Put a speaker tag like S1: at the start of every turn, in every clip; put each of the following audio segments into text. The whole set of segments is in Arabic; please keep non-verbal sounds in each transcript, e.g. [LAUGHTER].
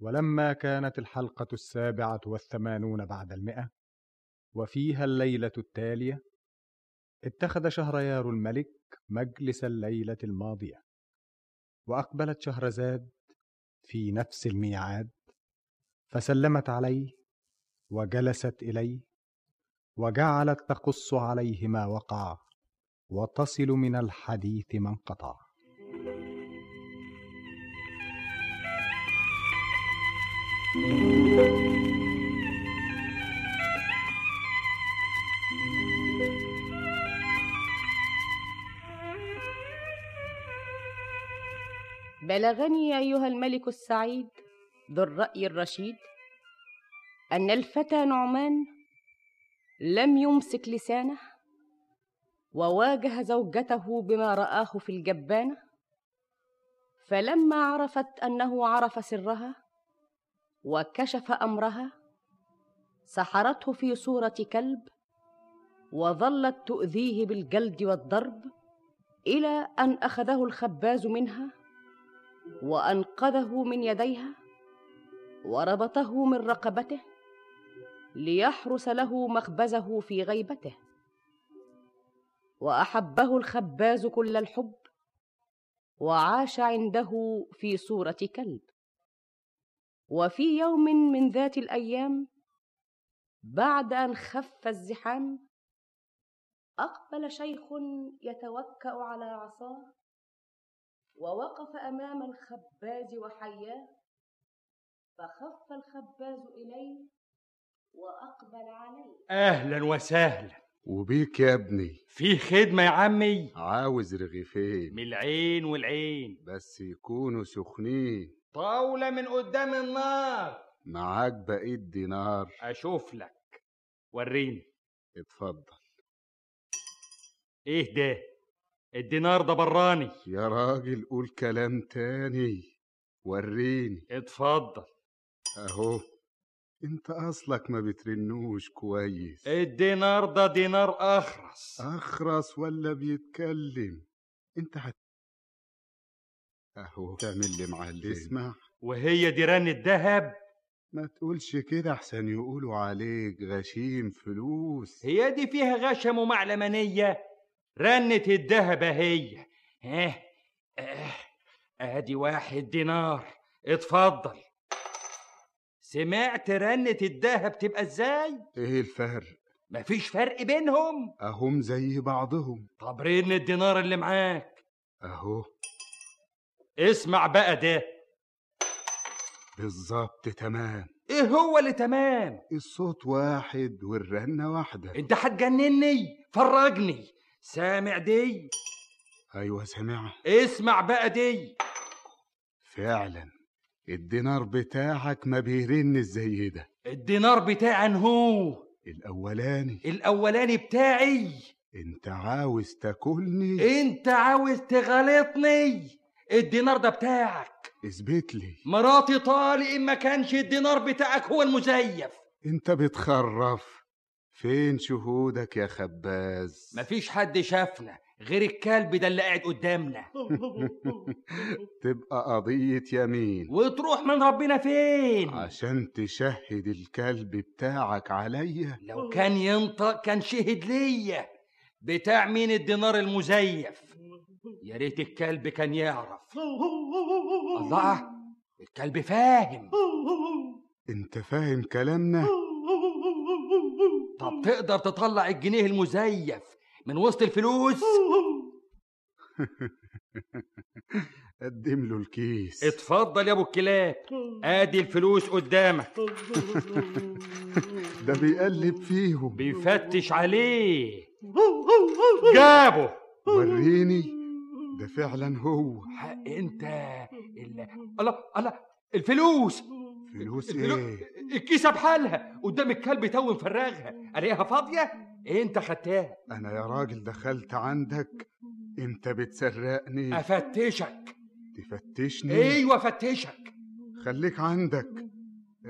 S1: ولما كانت الحلقة السابعة والثمانون بعد المئة وفيها الليلة التالية اتخذ شهريار الملك مجلس الليلة الماضية وأقبلت شهرزاد في نفس الميعاد فسلمت عليه وجلست إليه وجعلت تقص عليه ما وقع وتصل من الحديث ما انقطع
S2: بلغني أيها الملك السعيد ذو الرأي الرشيد أن الفتى نعمان لم يمسك لسانه وواجه زوجته بما رآه في الجبانة فلما عرفت أنه عرف سرها وكشف أمرها سحرته في صورة كلب وظلت تؤذيه بالجلد والضرب إلى أن أخذه الخباز منها وانقذه من يديها وربطه من رقبته ليحرس له مخبزه في غيبته واحبه الخباز كل الحب وعاش عنده في صوره كلب وفي يوم من ذات الايام بعد ان خف الزحام اقبل شيخ يتوكا على عصاه ووقف امام الخباز وحياه فخف الخباز اليه واقبل عليه
S3: اهلا وسهلا
S4: وبيك يا ابني
S3: في خدمه يا عمي
S4: عاوز رغيفين
S3: من العين والعين
S4: بس يكونوا سخنين
S3: طاوله من قدام النار
S4: معاك بقيت دينار
S3: اشوف لك وريني
S4: اتفضل
S3: ايه ده الدينار ده براني
S4: يا راجل قول كلام تاني وريني
S3: اتفضل
S4: اهو انت اصلك ما بترنوش كويس
S3: الدينار ده دينار اخرس
S4: اخرس ولا بيتكلم انت هت اهو تعمل اللي آه، معلم اسمع
S3: وهي ديران الذهب
S4: ما تقولش كده احسن يقولوا عليك غشيم فلوس
S3: هي دي فيها غشم ومعلمانيه رنت الدهب هي ها ادي واحد دينار اتفضل سمعت رنة الدهب تبقى ازاي؟
S4: ايه الفرق؟
S3: مفيش فرق بينهم
S4: اهم زي بعضهم
S3: طب رن الدينار اللي معاك
S4: اهو
S3: اسمع بقى ده
S4: بالظبط تمام
S3: ايه هو اللي تمام؟
S4: آه. الصوت واحد والرنة واحدة
S3: انت هتجنني فرجني سامع دي
S4: ايوه سامعها
S3: اسمع بقى دي
S4: فعلا الدينار بتاعك ما بيرن زي ده
S3: الدينار بتاعي هو
S4: الاولاني
S3: الاولاني بتاعي إيه؟
S4: انت عاوز تاكلني
S3: انت عاوز تغلطني الدينار ده بتاعك
S4: اثبت لي
S3: مراتي طالق ان ما كانش الدينار بتاعك هو المزيف
S4: انت بتخرف فين شهودك يا خباز [LAUGHS]
S3: مفيش حد شافنا غير الكلب ده اللي قاعد قدامنا
S4: تبقى قضية يمين
S3: وتروح من ربنا فين
S4: عشان تشهد الكلب بتاعك عليا [LAUGHS]
S3: لو كان ينطق كان شهد ليا بتاع مين الدينار المزيف يا ريت الكلب كان يعرف الله الكلب فاهم
S4: انت فاهم كلامنا
S3: طب تقدر تطلع الجنيه المزيف من وسط الفلوس
S4: قدم له الكيس
S3: اتفضل يا ابو الكلاب ادي الفلوس قدامك
S4: [LAUGHS] ده بيقلب فيهم
S3: بيفتش عليه جابه
S4: وريني ده فعلا هو
S3: حق انت ال... الله الله الفلوس [LAUGHS]
S4: فلوس
S3: الفلو-
S4: ايه
S3: الكيسه بحالها قدام الكلب تو مفرغها الاقيها فاضيه ايه انت خدتها
S4: انا يا راجل دخلت عندك انت بتسرقني
S3: افتشك
S4: تفتشني
S3: ايوه افتشك
S4: خليك عندك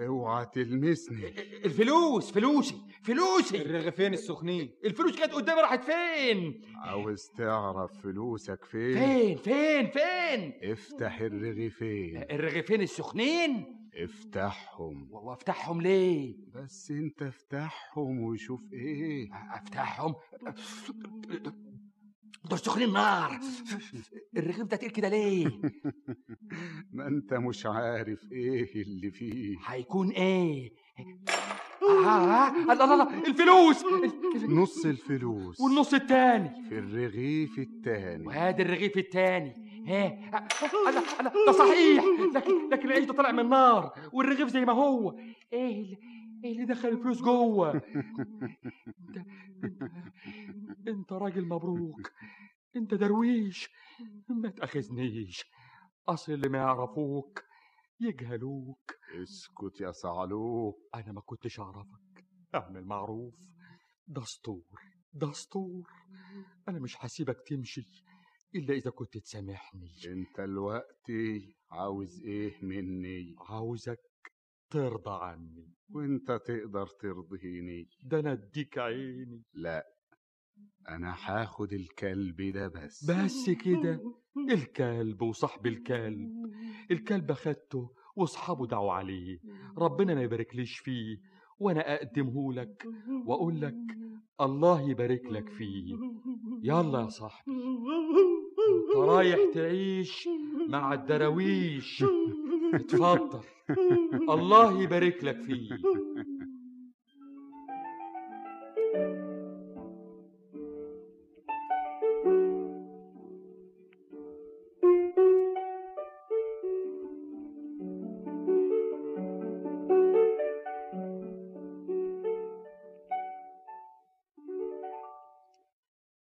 S4: اوعى تلمسني
S3: الفلوس فلوسي فلوسي
S5: الرغيفين السخنين
S3: الفلوس كانت قدامي راحت فين
S4: عاوز تعرف فلوسك فين
S3: فين فين فين إيه.
S4: افتح الرغيفين
S3: الرغيفين السخنين
S4: افتحهم
S3: وافتحهم ليه
S4: بس انت افتحهم وشوف ايه
S3: افتحهم دول سخنين نار الرغيف ده تقيل
S4: [LAUGHS]
S3: كده ليه
S4: ما انت مش عارف ايه اللي فيه
S3: هيكون ايه آه، آه، الله الله الله الفلوس
S4: نص الفلوس
S3: والنص التاني
S4: في الرغيف التاني
S3: وهذا الرغيف التاني ها آه، الله الله ده صحيح لكن لكن العيش ده طلع من النار والرغيف زي ما هو ايه اللي- ايه اللي دخل الفلوس جوه انت انت, انت راجل مبروك انت درويش ما تاخذنيش اصل اللي ما يعرفوك يجهلوك
S4: اسكت يا صعلوك
S3: أنا ما كنتش أعرفك أعمل معروف دستور دستور أنا مش هسيبك تمشي إلا إذا كنت تسامحني
S4: انت دلوقتي عاوز ايه مني
S3: عاوزك ترضى عني
S4: وانت تقدر ترضيني
S3: ده أنا أديك عيني
S4: لا انا هاخد الكلب ده بس
S3: بس كده الكلب وصاحب الكلب الكلب أخدته وأصحابه دعوا عليه ربنا ما يباركليش فيه وأنا أقدمهولك وأقول لك الله يبارك لك فيه يلا يا صاحبي انت رايح تعيش مع الدراويش اتفضل الله يبارك لك فيه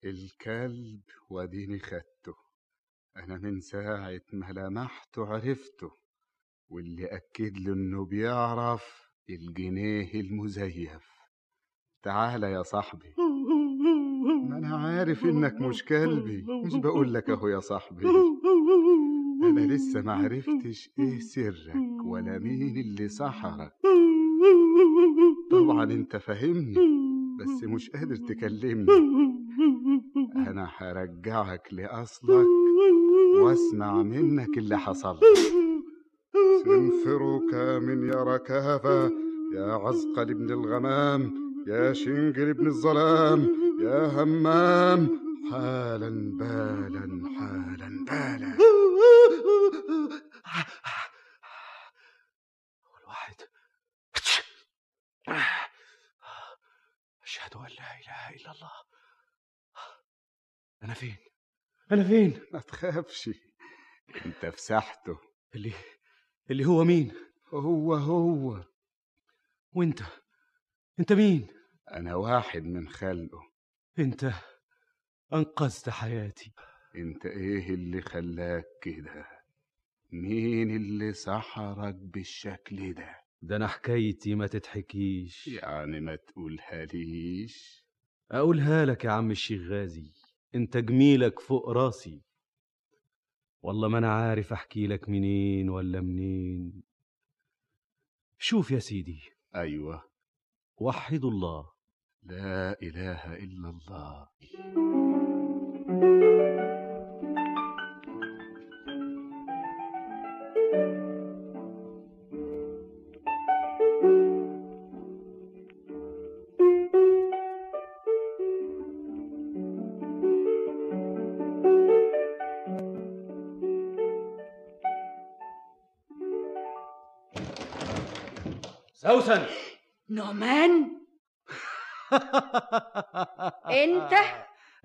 S4: الكلب واديني خدته انا من ساعه ما لمحته عرفته واللي اكد له انه بيعرف الجنيه المزيف تعالى يا صاحبي ما انا عارف انك مش كلبي مش
S6: [LAUGHS]
S4: بقول لك اهو يا صاحبي انا لسه ما عرفتش ايه سرك ولا مين اللي سحرك طبعا انت فاهمني بس مش قادر تكلمني انا هرجعك لاصلك واسمع منك اللي حصل سنفرك من يا ركافة يا عزقل ابن الغمام يا شنجل ابن الظلام يا همام حالا بالا حالا بالا
S3: والواحد أشهد أن لا إله إلا الله أنا فين؟ أنا فين؟
S4: ما تخافش انت فسحته
S3: اللي اللي هو مين؟
S4: هو هو
S3: وأنت؟ أنت مين؟
S4: انا واحد من خلقه
S3: أنت أنقذت حياتي
S4: انت ايه اللي خلاك كده مين اللي سحرك بالشكل ده
S7: ده انا حكايتي ما تتحكيش
S4: يعني ما تقولها ليش
S7: اقولها لك يا عم الشيخ غازي انت جميلك فوق راسي والله ما انا عارف احكي لك منين ولا منين شوف يا سيدي
S4: ايوه
S7: وحدوا الله
S4: لا اله الا الله
S7: سوسن
S8: نعمان
S7: آه،
S8: أنت؟
S7: [LAUGHS]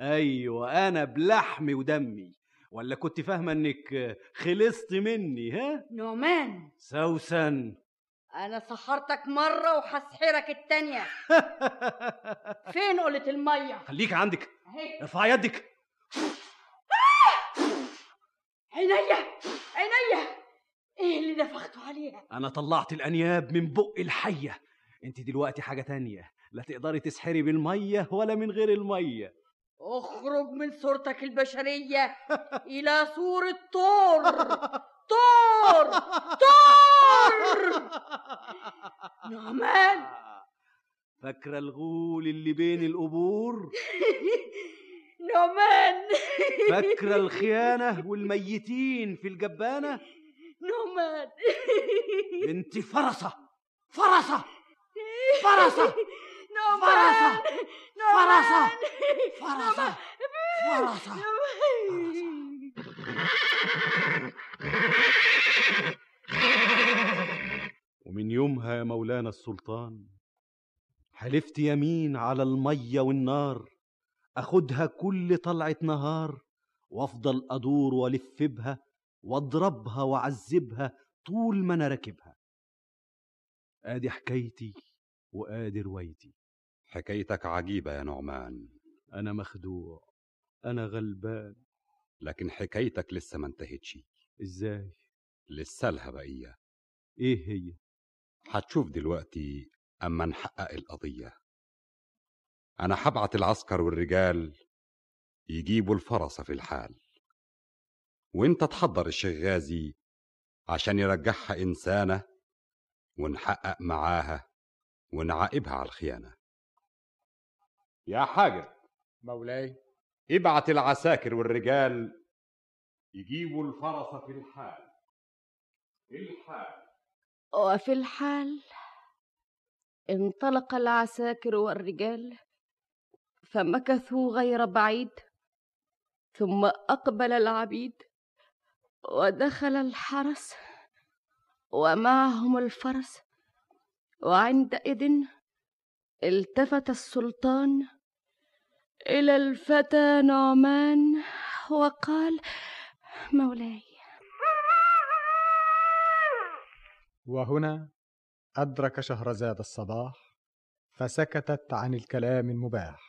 S7: ايوه انا بلحمي ودمي ولا كنت فاهمه انك خلصت مني ها
S8: نعمان
S7: سوسن
S8: انا سحرتك مره وهسحرك التانيه فين قلة الميه
S7: خليك عندك [LAUGHS]
S8: اهي
S7: ارفع يدك
S8: عينيا عينيا ايه اللي نفخته عليها
S7: انا طلعت الانياب من بق الحيه انت دلوقتي حاجه تانية لا تقدري تسحري بالميه ولا من غير الميه
S8: اخرج من صورتك البشريه الى صوره طور طور طور نعمان
S3: فاكرة الغول اللي بين القبور
S6: نعمان
S3: [LAUGHS] فاكرة الخيانة والميتين في الجبانة
S6: نعمان
S3: انت فرصة فرصة فرصة
S6: نعمان
S3: فرصة
S6: نعمان
S3: فرصة فرصة فرصة ومن يومها يا مولانا السلطان حلفت يمين على المية والنار أخدها كل طلعة نهار وأفضل أدور وألف بها وأضربها وأعذبها طول ما أنا راكبها آدي حكايتي وآدي روايتي
S9: حكايتك عجيبة يا نعمان
S3: أنا مخدوع أنا غلبان
S9: لكن حكايتك لسه ما انتهتش
S3: إزاي؟
S9: لسه لها بقية
S3: إيه هي؟
S9: هتشوف دلوقتي أما نحقق القضية أنا هبعت العسكر والرجال يجيبوا الفرصة في الحال وانت تحضر الشيخ غازي عشان يرجعها إنسانة ونحقق معاها ونعاقبها على الخيانة يا حاجة
S1: مولاي
S9: ابعت العساكر والرجال يجيبوا الفرس في الحال الحال
S2: وفي الحال انطلق العساكر والرجال فمكثوا غير بعيد ثم اقبل العبيد ودخل الحرس ومعهم الفرس وعندئذ التفت السلطان الى الفتى نعمان وقال مولاي
S1: وهنا أدرك شهرزاد الصباح فسكتت عن الكلام المباح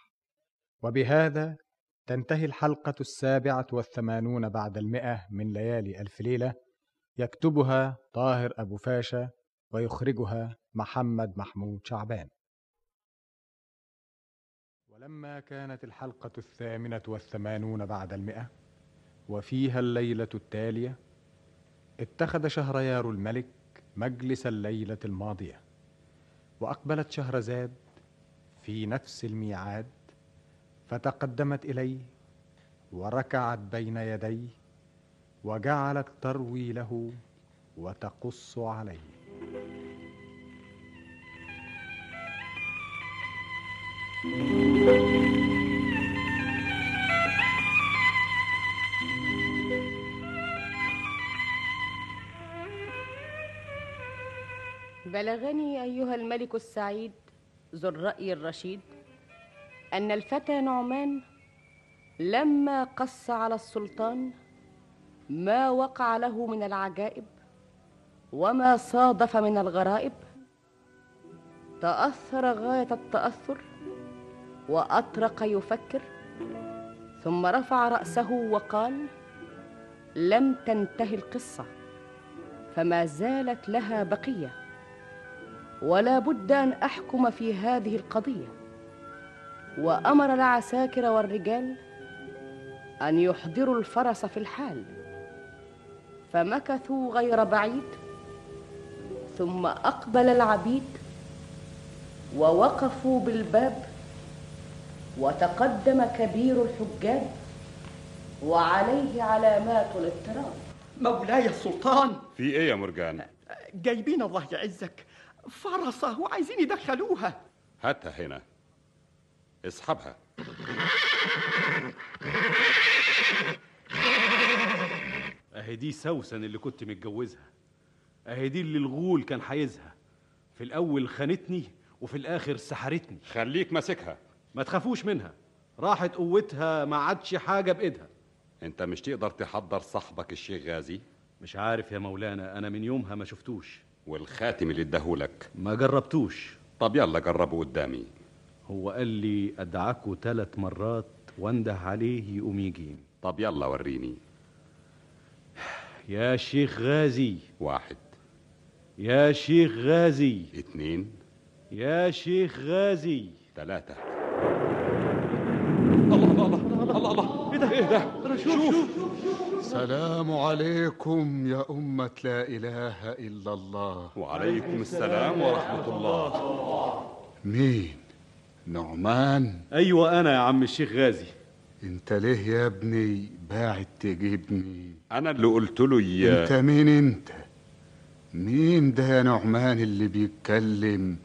S1: وبهذا تنتهي الحلقة السابعة والثمانون بعد المئة من ليالي ألف ليلة يكتبها طاهر أبو فاشا ويخرجها محمد محمود شعبان ولما كانت الحلقة الثامنة والثمانون بعد المئة وفيها الليلة التالية اتخذ شهريار الملك مجلس الليلة الماضية وأقبلت شهرزاد في نفس الميعاد فتقدمت إليه وركعت بين يديه وجعلت تروي له وتقص عليه
S2: بلغني أيها الملك السعيد ذو الرأي الرشيد أن الفتى نعمان لما قص على السلطان ما وقع له من العجائب وما صادف من الغرائب تأثر غاية التأثر وأطرق يفكر ثم رفع رأسه وقال لم تنتهي القصة فما زالت لها بقيه ولا بد ان احكم في هذه القضيه وامر العساكر والرجال ان يحضروا الفرس في الحال فمكثوا غير بعيد ثم اقبل العبيد ووقفوا بالباب وتقدم كبير الحجاج وعليه علامات الاضطراب
S10: مولاي السلطان
S9: في ايه يا مرجان
S10: جايبين الله يعزك فرصة وعايزين يدخلوها
S9: هاتها هنا اسحبها
S3: أهي دي سوسن اللي كنت متجوزها أهي دي اللي الغول كان حايزها في الأول خانتني وفي الآخر سحرتني
S9: خليك ماسكها
S3: ما تخافوش منها راحت قوتها ما عادش حاجة بإيدها
S9: انت مش تقدر تحضر صاحبك الشيخ غازي
S3: مش عارف يا مولانا أنا من يومها ما شفتوش
S9: والخاتم اللي اداهولك
S3: ما جربتوش
S9: طب يلا جربه قدامي
S3: هو قال لي أدعكه ثلاث مرات وانده عليه يقوم يجيني
S9: طب يلا وريني
S3: يا شيخ غازي
S9: واحد
S3: يا شيخ غازي
S9: اتنين
S3: يا شيخ غازي
S9: تلاتة
S7: إيه
S4: سلام عليكم يا أمة لا إله إلا الله
S9: وعليكم السلام ورحمة الله
S4: مين نعمان
S11: ايوه انا يا عم الشيخ غازي
S4: انت ليه يا ابني باعت تجيبني
S9: انا اللي قلت له يا
S4: انت مين انت مين ده يا نعمان اللي بيتكلم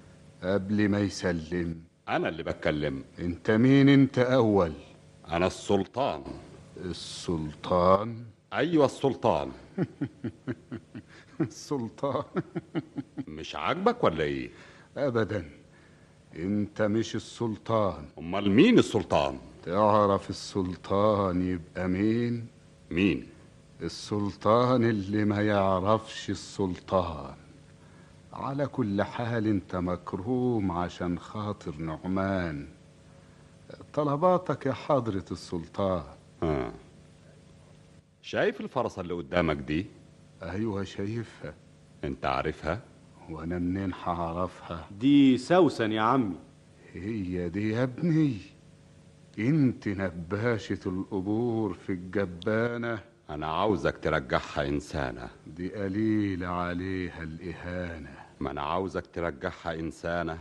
S4: قبل ما يسلم
S9: انا اللي بتكلم
S4: انت مين انت اول
S9: انا السلطان
S4: السلطان
S9: ايوه السلطان
S4: [LAUGHS] السلطان
S9: مش عاجبك ولا ايه
S4: ابدا انت مش السلطان
S9: امال مين السلطان
S4: تعرف السلطان يبقى مين
S9: مين
S4: السلطان اللي ما يعرفش السلطان على كل حال انت مكروم عشان خاطر نعمان طلباتك يا حضرة السلطان
S9: آه. شايف الفرصة اللي قدامك دي
S4: ايوه شايفها
S9: انت عارفها
S4: وانا منين هعرفها
S11: دي سوسن يا عمي
S4: هي دي يا ابني انت نباشة القبور في الجبانة
S9: انا عاوزك ترجعها انسانة
S4: دي قليل عليها الإهانة
S9: ما انا عاوزك ترجعها انسانه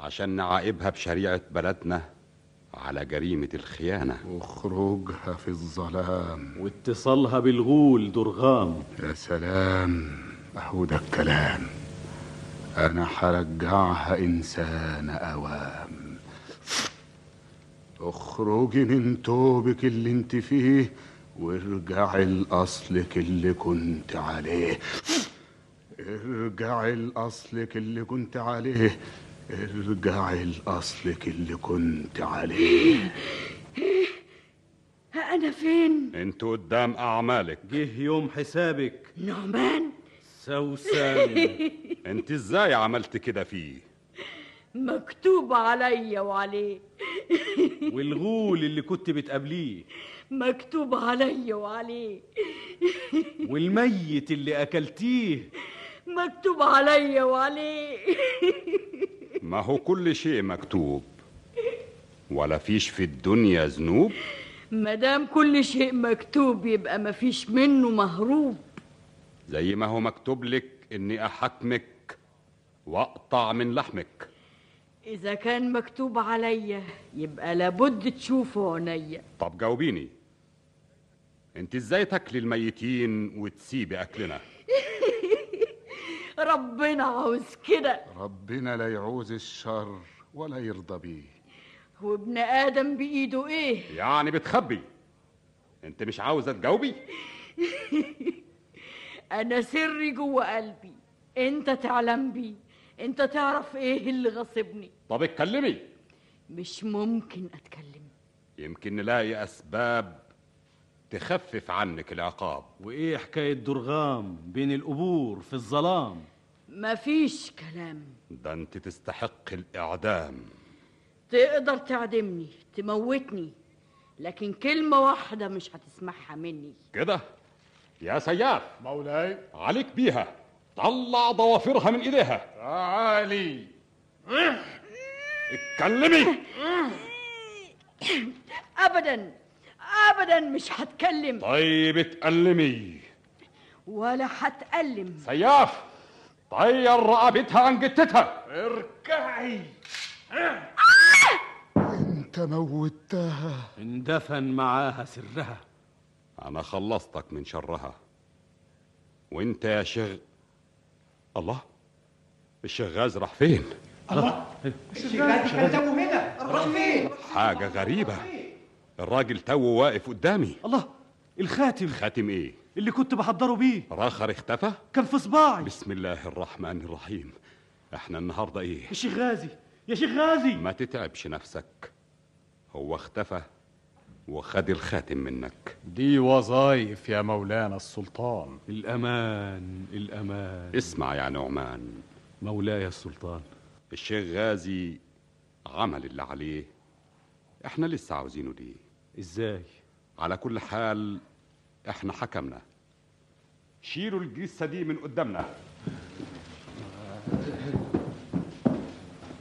S9: عشان نعاقبها بشريعه بلدنا على جريمه الخيانه
S4: وخروجها في الظلام
S11: واتصالها بالغول درغام
S4: يا سلام أهو ده الكلام أنا هرجعها إنسان أوام اخرجي من توبك اللي انت فيه وارجعي لأصلك اللي كنت عليه ارجعي لأصلك اللي كنت عليه ارجعي لأصلك اللي كنت عليه
S12: ها أنا فين؟
S9: انت قدام اعمالك
S11: جه يوم حسابك
S12: نعمان
S8: [LAUGHS]
S11: سوسن
S9: انت ازاي عملت كده فيه
S8: مكتوب عليا وعليه
S11: والغول اللي كنت بتقابليه
S8: مكتوب عليا وعليه
S11: والميت اللي اكلتيه
S8: مكتوب عليا وعليه
S9: ما هو كل شيء مكتوب ولا فيش في الدنيا ذنوب
S8: مادام كل شيء مكتوب يبقى مفيش منه مهروب
S9: زي ما هو مكتوب لك اني احكمك واقطع من لحمك
S8: اذا كان مكتوب عليا يبقى لابد تشوفه عينيا [LAUGHS]
S9: طب جاوبيني انت ازاي تاكلي الميتين وتسيبي اكلنا
S8: ربنا عاوز كده
S4: ربنا لا يعوز الشر ولا يرضى بيه
S8: وابن ادم بايده ايه
S9: يعني بتخبي انت مش عاوزه تجاوبي
S8: انا سري جوه قلبي انت تعلم بيه انت تعرف ايه اللي غاصبني
S9: طب اتكلمي
S8: مش ممكن اتكلم
S9: يمكن نلاقي اسباب تخفف عنك العقاب
S11: وايه حكايه درغام بين القبور في الظلام
S8: مفيش كلام
S9: ده انت تستحق الاعدام
S8: تقدر تعدمني تموتني لكن كلمة واحدة مش هتسمعها مني [CLEARS THROAT]
S9: كده يا سياف
S3: مولاي
S9: عليك بيها طلع ضوافرها من ايديها
S3: تعالي
S9: اتكلمي
S8: أبدا أبدا مش هتكلم
S9: طيب اتألمي
S8: ولا هتألم
S9: سياف طير رقبتها عن جتتها
S3: اركعي
S4: انت موتها
S11: اندفن معاها سرها
S9: انا خلصتك من شرها وانت يا شيخ الله الشيخ غاز راح فين
S6: الشغال ده هنا راح فين؟
S9: حاجة غريبة الراجل تو واقف قدامي
S11: الله الخاتم
S9: خاتم ايه
S11: اللي كنت بحضره بيه
S9: راخر اختفى
S11: كان في صباعي
S9: بسم الله الرحمن الرحيم احنا النهاردة ايه
S11: الشيخ غازي يا شيخ غازي
S9: ما تتعبش نفسك هو اختفى وخد الخاتم منك
S3: دي وظايف يا مولانا السلطان
S11: الامان الامان
S9: اسمع يا نعمان
S11: مولاي السلطان
S9: الشيخ غازي عمل اللي عليه احنا لسه عاوزينه ليه
S11: ازاي
S9: على كل حال احنا حكمنا شيلوا الجثة دي من قدامنا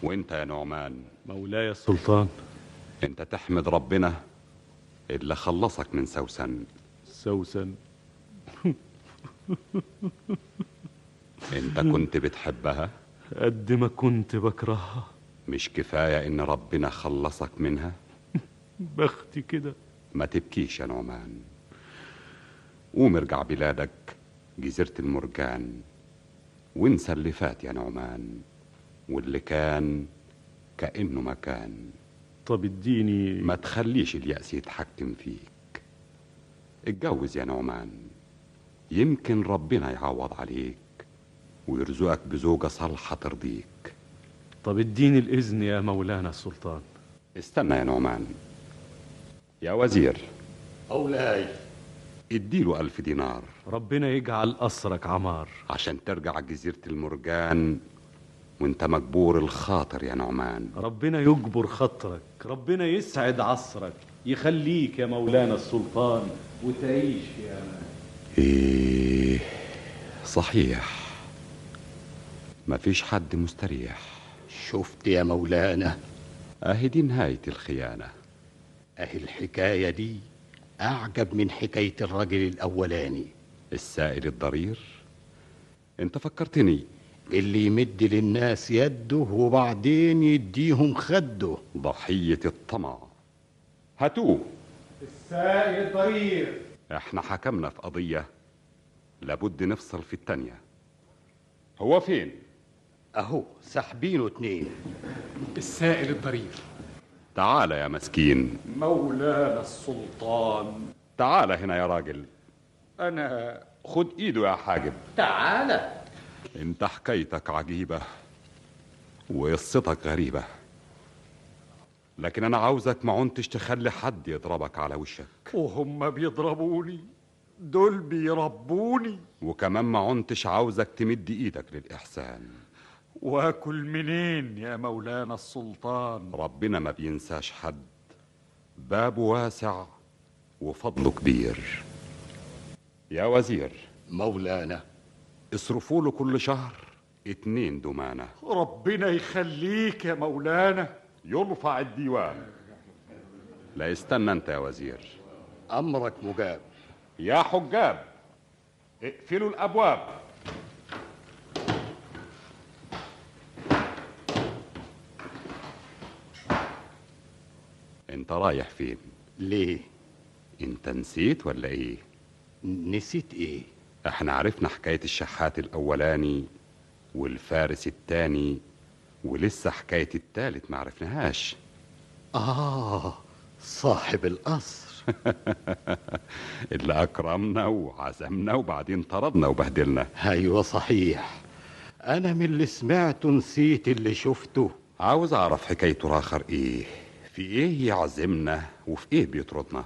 S9: وانت يا نعمان
S11: مولاي السلطان
S9: انت تحمد ربنا اللي خلصك من سوسن
S11: سوسن [LAUGHS]
S9: انت كنت بتحبها
S11: قد ما كنت بكرهها
S9: مش كفاية إن ربنا خلصك منها
S3: بختي كده
S9: ما تبكيش يا نعمان قوم ارجع بلادك جزيرة المرجان وانسى اللي فات يا نعمان واللي كان كأنه ما كان
S8: طب اديني
S9: ما تخليش اليأس يتحكم فيك اتجوز يا نعمان يمكن ربنا يعوض عليك ويرزقك بزوجة صالحة ترضيك
S8: طب اديني الإذن يا مولانا السلطان
S9: استنى يا نعمان يا وزير
S1: أولاي
S9: اديله ألف دينار
S8: ربنا يجعل أسرك عمار
S9: عشان ترجع جزيرة المرجان وانت مجبور الخاطر يا نعمان
S8: ربنا يجبر خطرك ربنا يسعد عصرك يخليك يا مولانا السلطان وتعيش في أمان
S9: ايه صحيح مفيش حد مستريح
S13: شفت يا مولانا
S9: اهي دي نهاية الخيانة
S13: اهي الحكاية دي أعجب من حكاية الرجل الأولاني
S9: السائل الضرير انت فكرتني
S13: اللي يمد للناس يده وبعدين يديهم خده
S9: ضحية الطمع هاتوه
S14: السائل الضرير
S9: احنا حكمنا في قضية لابد نفصل في التانية هو فين؟
S13: أهو ساحبينه اتنين
S1: السائل الضرير
S9: تعال يا مسكين
S1: مولانا السلطان
S9: تعال هنا يا راجل
S1: أنا
S9: خد ايده يا حاجب
S14: تعالى
S9: انت حكايتك عجيبة وقصتك غريبة لكن انا عاوزك ما عنتش تخلي حد يضربك على وشك
S1: وهم بيضربوني دول بيربوني
S9: وكمان ما عنتش عاوزك تمد ايدك للاحسان
S1: واكل منين يا مولانا السلطان
S9: ربنا ما بينساش حد بابه واسع وفضله كبير يا وزير
S13: مولانا
S9: اصرفوا له كل شهر اتنين دمانة
S1: ربنا يخليك يا مولانا
S9: يرفع الديوان لا استنى انت يا وزير
S13: أمرك مجاب
S9: يا حجاب اقفلوا الابواب انت رايح فين
S13: ليه
S9: انت نسيت ولا ايه
S13: نسيت ايه
S9: احنا عرفنا حكاية الشحات الاولاني والفارس التاني ولسه حكاية التالت ما عرفناهاش
S13: آه صاحب القصر
S9: [LAUGHS] اللي اكرمنا وعزمنا وبعدين طردنا وبهدلنا
S13: أيوة صحيح أنا من اللي سمعته نسيت اللي شفته
S9: عاوز اعرف حكايته الاخر ايه في ايه يعزمنا وفي ايه بيطردنا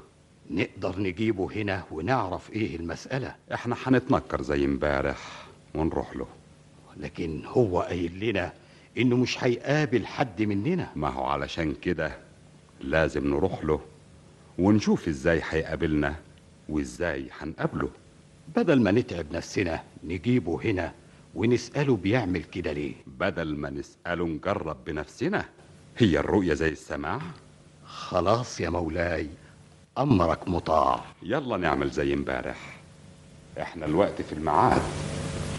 S13: نقدر نجيبه هنا ونعرف إيه المسألة
S9: احنا هنتنكر زي امبارح ونروح له
S13: لكن هو قايل لنا إنه مش هيقابل حد مننا
S9: ما هو علشان كده لازم نروح له ونشوف ازاي هيقابلنا وازاي هنقابله
S13: بدل ما نتعب نفسنا نجيبه هنا ونسأله بيعمل كده ليه
S9: بدل ما نسأله نجرب بنفسنا هي الرؤية زي السماع
S13: خلاص يا مولاي أمرك مطاع
S9: يلا نعمل زي امبارح احنا الوقت في الميعاد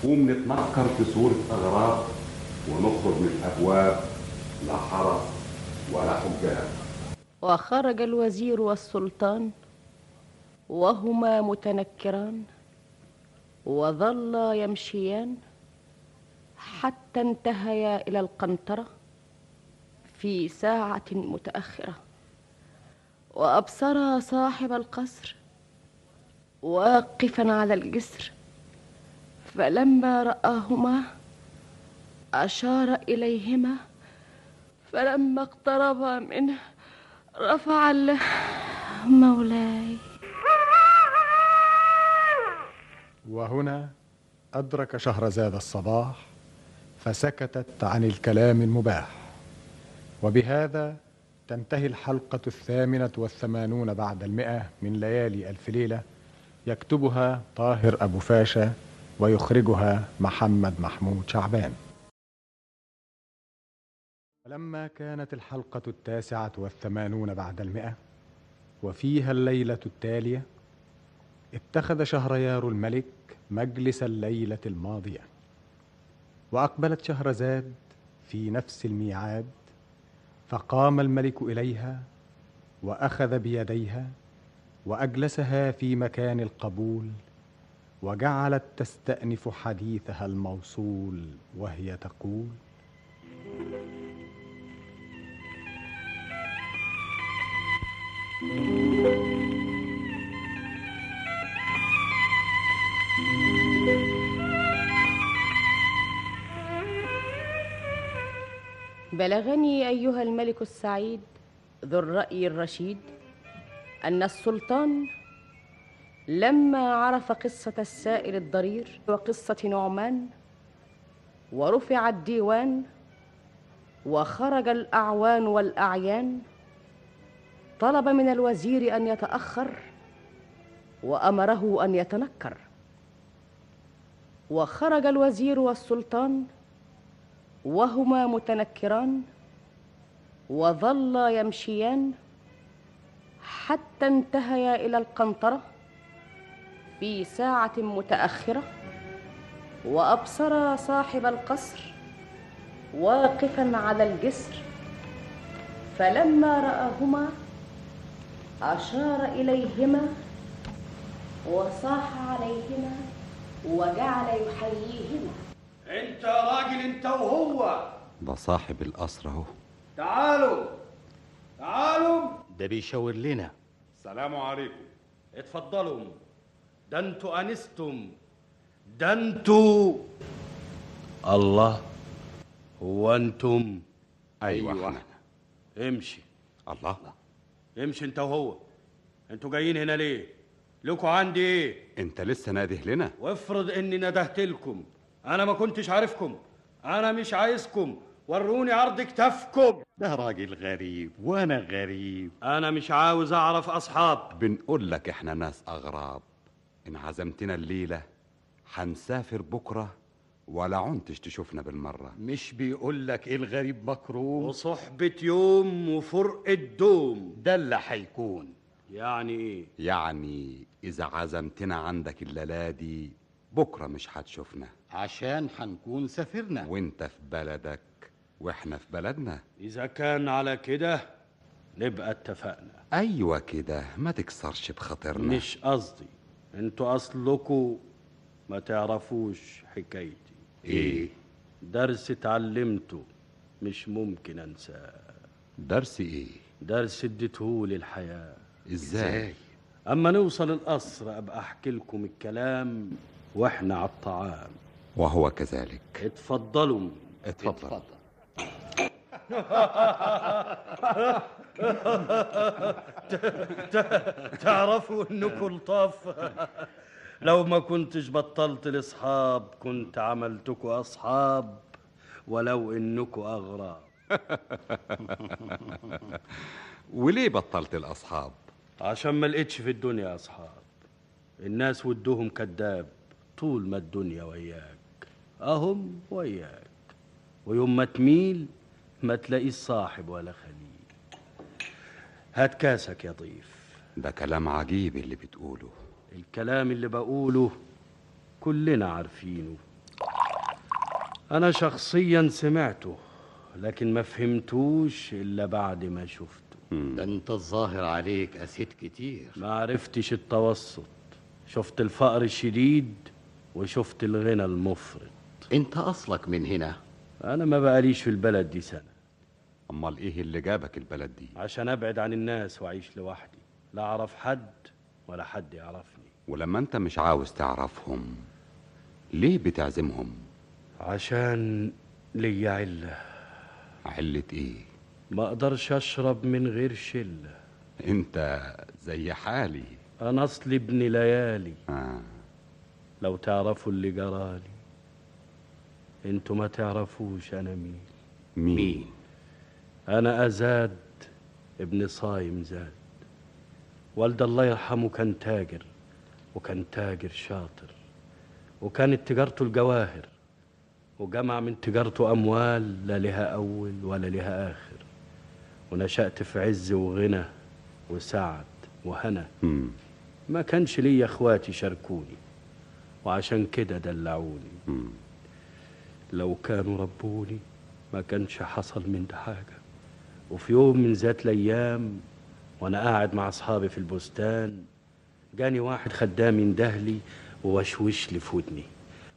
S9: قوم نتنكر في صورة أغراب ونخرج من الأبواب لا حرس ولا حجاب
S2: وخرج الوزير والسلطان وهما متنكران وظلا يمشيان حتى انتهيا الى القنطره في ساعه متاخره وابصرا صاحب القصر واقفا على الجسر فلما راهما اشار اليهما فلما اقتربا منه رفع له مولاي
S1: وهنا أدرك شهرزاد الصباح فسكتت عن الكلام المباح وبهذا تنتهي الحلقة الثامنة والثمانون بعد المئة من ليالي ألف ليلة يكتبها طاهر أبو فاشا ويخرجها محمد محمود شعبان فلما كانت الحلقة التاسعة والثمانون بعد المئة وفيها الليلة التالية اتخذ شهريار الملك مجلس الليله الماضيه واقبلت شهرزاد في نفس الميعاد فقام الملك اليها واخذ بيديها واجلسها في مكان القبول وجعلت تستانف حديثها الموصول وهي تقول
S2: بلغني ايها الملك السعيد ذو الراي الرشيد ان السلطان لما عرف قصه السائل الضرير وقصه نعمان ورفع الديوان وخرج الاعوان والاعيان طلب من الوزير ان يتاخر وامره ان يتنكر وخرج الوزير والسلطان وهما متنكران وظلا يمشيان حتى انتهيا الى القنطره في ساعه متاخره وابصرا صاحب القصر واقفا على الجسر فلما راهما اشار اليهما وصاح عليهما وجعل يحييهما
S14: انت راجل انت وهو
S9: ده صاحب القصر اهو
S14: تعالوا تعالوا
S13: ده بيشاور لنا
S7: السلام عليكم اتفضلوا ده انتوا انستم ده انتوا الله هو انتم
S13: ايوه, أيوة. احنا
S7: امشي
S13: الله
S7: امشي انت وهو انتوا جايين هنا ليه لكوا عندي ايه
S9: انت لسه ناده لنا
S7: وافرض اني ندهت لكم انا ما كنتش عارفكم انا مش عايزكم وروني عرض كتافكم
S13: ده راجل غريب وانا غريب
S7: انا مش عاوز اعرف اصحاب
S9: بنقول لك احنا ناس اغراب ان عزمتنا الليله هنسافر بكره ولا عنتش تشوفنا بالمره
S13: مش بيقول لك إيه الغريب مكروه
S7: وصحبة يوم وفرق الدوم
S13: ده اللي هيكون
S7: يعني ايه
S9: يعني اذا عزمتنا عندك الليله دي بكره مش هتشوفنا
S13: عشان هنكون سافرنا
S9: وانت في بلدك واحنا في بلدنا
S7: اذا كان على كده نبقى اتفقنا
S9: ايوه كده ما تكسرش
S13: نعم.
S9: بخاطرنا
S7: مش قصدي انتوا اصلكوا ما تعرفوش حكايتي
S13: إيه.
S9: ايه
S7: درس اتعلمته مش ممكن انساه
S9: درس ايه
S7: درس اديتهولي الحياه
S9: ازاي
S7: اما نوصل القصر ابقى احكي لكم الكلام واحنا على الطعام
S9: وهو كذلك
S7: اتفضلوا
S9: اتفضل, اتفضل.
S7: [LAUGHS] تعرفوا انكم لطاف لو ما كنتش بطلت الاصحاب كنت عملتكوا اصحاب ولو انكوا اغراب
S9: [LAUGHS] وليه بطلت الاصحاب
S7: عشان ما لقيتش في الدنيا اصحاب الناس ودهم كذاب طول ما الدنيا وياك اهم وياك ويوم ما تميل ما تلاقيش صاحب ولا خليل هات كاسك يا ضيف
S9: ده كلام عجيب اللي بتقوله
S7: الكلام اللي بقوله كلنا عارفينه انا شخصيا سمعته لكن ما فهمتوش الا بعد ما شفته
S13: [LAUGHS] ده انت الظاهر عليك قسيت كتير
S7: ما عرفتش التوسط شفت الفقر الشديد وشفت الغنى المفرط
S13: انت اصلك من هنا
S7: انا ما بقاليش في البلد دي سنه
S9: امال ايه اللي جابك البلد دي
S7: عشان ابعد عن الناس واعيش لوحدي لا اعرف حد ولا حد يعرفني
S9: ولما انت مش عاوز تعرفهم ليه بتعزمهم
S7: عشان ليا عله
S9: علة ايه
S7: ما اقدرش اشرب من غير شله
S9: انت زي حالي
S7: انا اصلي ابن ليالي
S9: آه.
S7: لو تعرفوا اللي جرالي انتوا ما تعرفوش انا مين
S9: مين
S7: انا ازاد ابن صايم زاد والد الله يرحمه كان تاجر وكان تاجر شاطر وكانت تجارته الجواهر وجمع من تجارته اموال لا لها اول ولا لها اخر ونشات في عز وغنى وسعد وهنا
S9: مم.
S7: ما كانش ليا اخواتي شاركوني وعشان كده دلعوني
S9: مم.
S7: لو كانوا ربوني ما كانش حصل من ده حاجة وفي يوم من ذات الأيام وأنا قاعد مع أصحابي في البستان جاني واحد خدام يندهلي ووشوش لي في ودني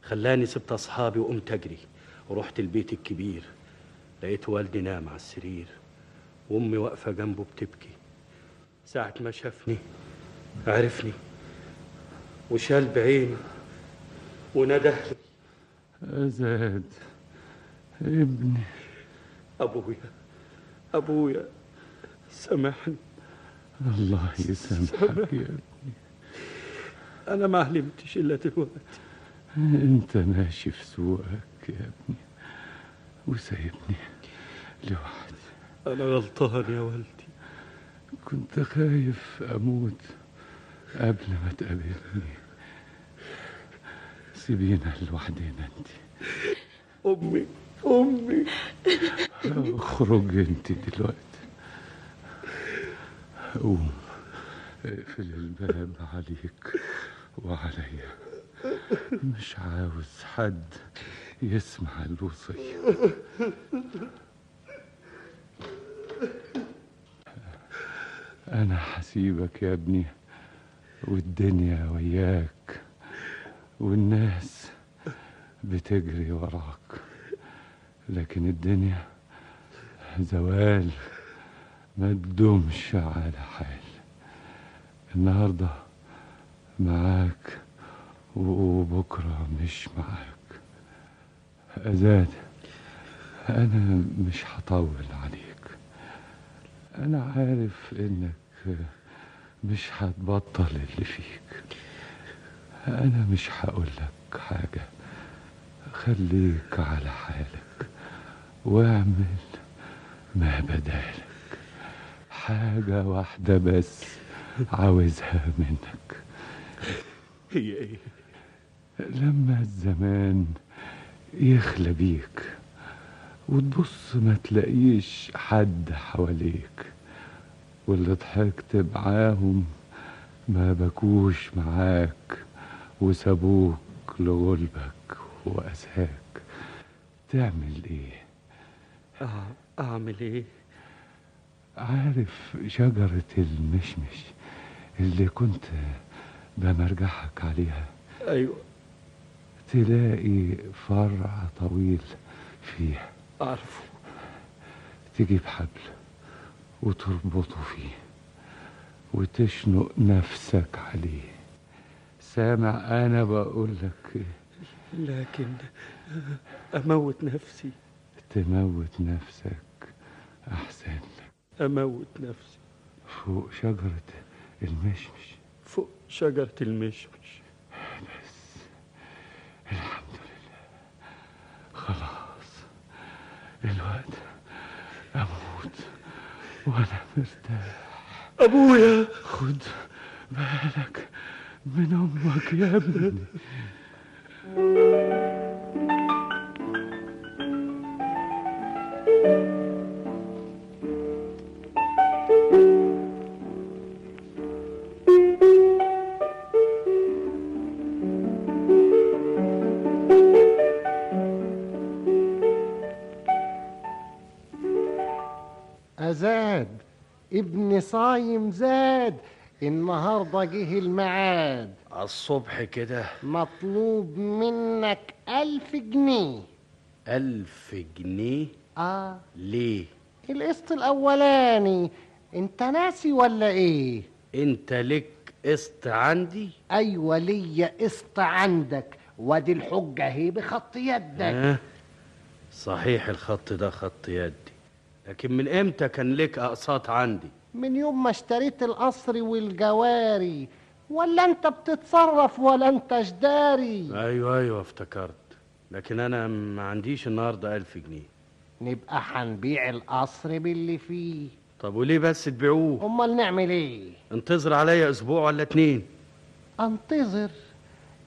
S7: خلاني سبت أصحابي وقمت أجري ورحت البيت الكبير لقيت والدي نام على السرير وأمي واقفة جنبه بتبكي ساعة ما شافني عرفني وشال بعينه ونده لي
S15: أزاد ابني
S7: أبويا أبويا سامحني
S15: الله يسامحك يا ابني.
S7: أنا ما علمتش إلا دلوقتي
S15: أنت ماشي في سوقك يا ابني وسايبني لوحدي
S7: أنا غلطان يا والدي
S15: كنت خايف أموت قبل ما تقابلني سيبينا لوحدنا أنت
S7: أمي أمي
S15: اخرج أنت دلوقتي قوم اقفل الباب عليك وعليا مش عاوز حد يسمع الوصية أنا حسيبك يا ابني والدنيا وياك والناس بتجري وراك لكن الدنيا زوال ما تدومش على حال النهارده معاك وبكره مش معاك أزاد أنا مش هطول عليك أنا عارف إنك مش هتبطل اللي فيك أنا مش هقولك حاجة خليك على حالك واعمل ما بدالك حاجة واحدة بس عاوزها منك
S7: هي إيه
S15: لما الزمان يخلى بيك وتبص ما تلاقيش حد حواليك واللي ضحكت معاهم ما بكوش معاك وسابوك لغلبك وأساك تعمل ايه
S7: أع- آه، أعمل إيه
S15: عارف شجرة المشمش اللي كنت بمرجحك عليها
S7: أيوة
S15: تلاقي فرع طويل فيه
S7: أعرفه
S15: تجيب حبل وتربطه فيه وتشنق نفسك عليه سامع انا بقول لك إيه؟
S7: لكن أموت نفسي
S15: تموت نفسك احسن لك
S7: أموت نفسي
S15: فوق شجره المشمش
S7: فوق شجرة المشمش
S15: خلاص الوقت اموت وانا مرتاح
S7: ابويا
S15: خد بالك من امك يا ابني
S16: أزاد ابن صايم زاد النهاردة جه الميعاد
S7: الصبح كده
S16: مطلوب منك ألف جنيه
S7: ألف جنيه
S16: آه
S7: ليه
S16: القسط الأولاني أنت ناسي ولا إيه؟
S7: أنت لك قسط عندي؟
S16: أيوة ليا قسط عندك وادي الحجة اهي بخط يدك
S7: آه. صحيح الخط ده خط يدي لكن من امتى كان لك اقساط عندي
S16: من يوم ما اشتريت القصر والجواري ولا أنت بتتصرف ولا أنت جداري
S7: ايوه ايوه افتكرت لكن انا ما عنديش النهارده ألف جنيه
S16: نبقى هنبيع القصر باللي فيه
S7: طب وليه بس تبيعوه
S16: امال نعمل ايه
S7: انتظر عليا اسبوع ولا اتنين
S16: انتظر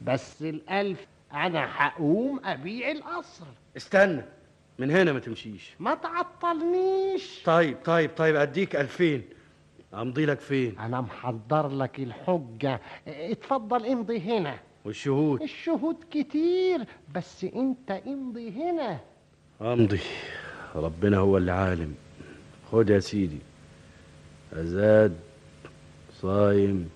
S16: بس الالف انا هقوم ابيع القصر
S7: استنى من هنا ما تمشيش
S16: ما تعطلنيش
S7: طيب طيب طيب اديك ألفين امضي لك فين
S16: انا محضر لك الحجه اتفضل امضي هنا
S7: والشهود
S16: الشهود كتير بس انت امضي هنا [LAUGHS]
S7: امضي ربنا هو اللي عالم خد يا سيدي أزاد صايم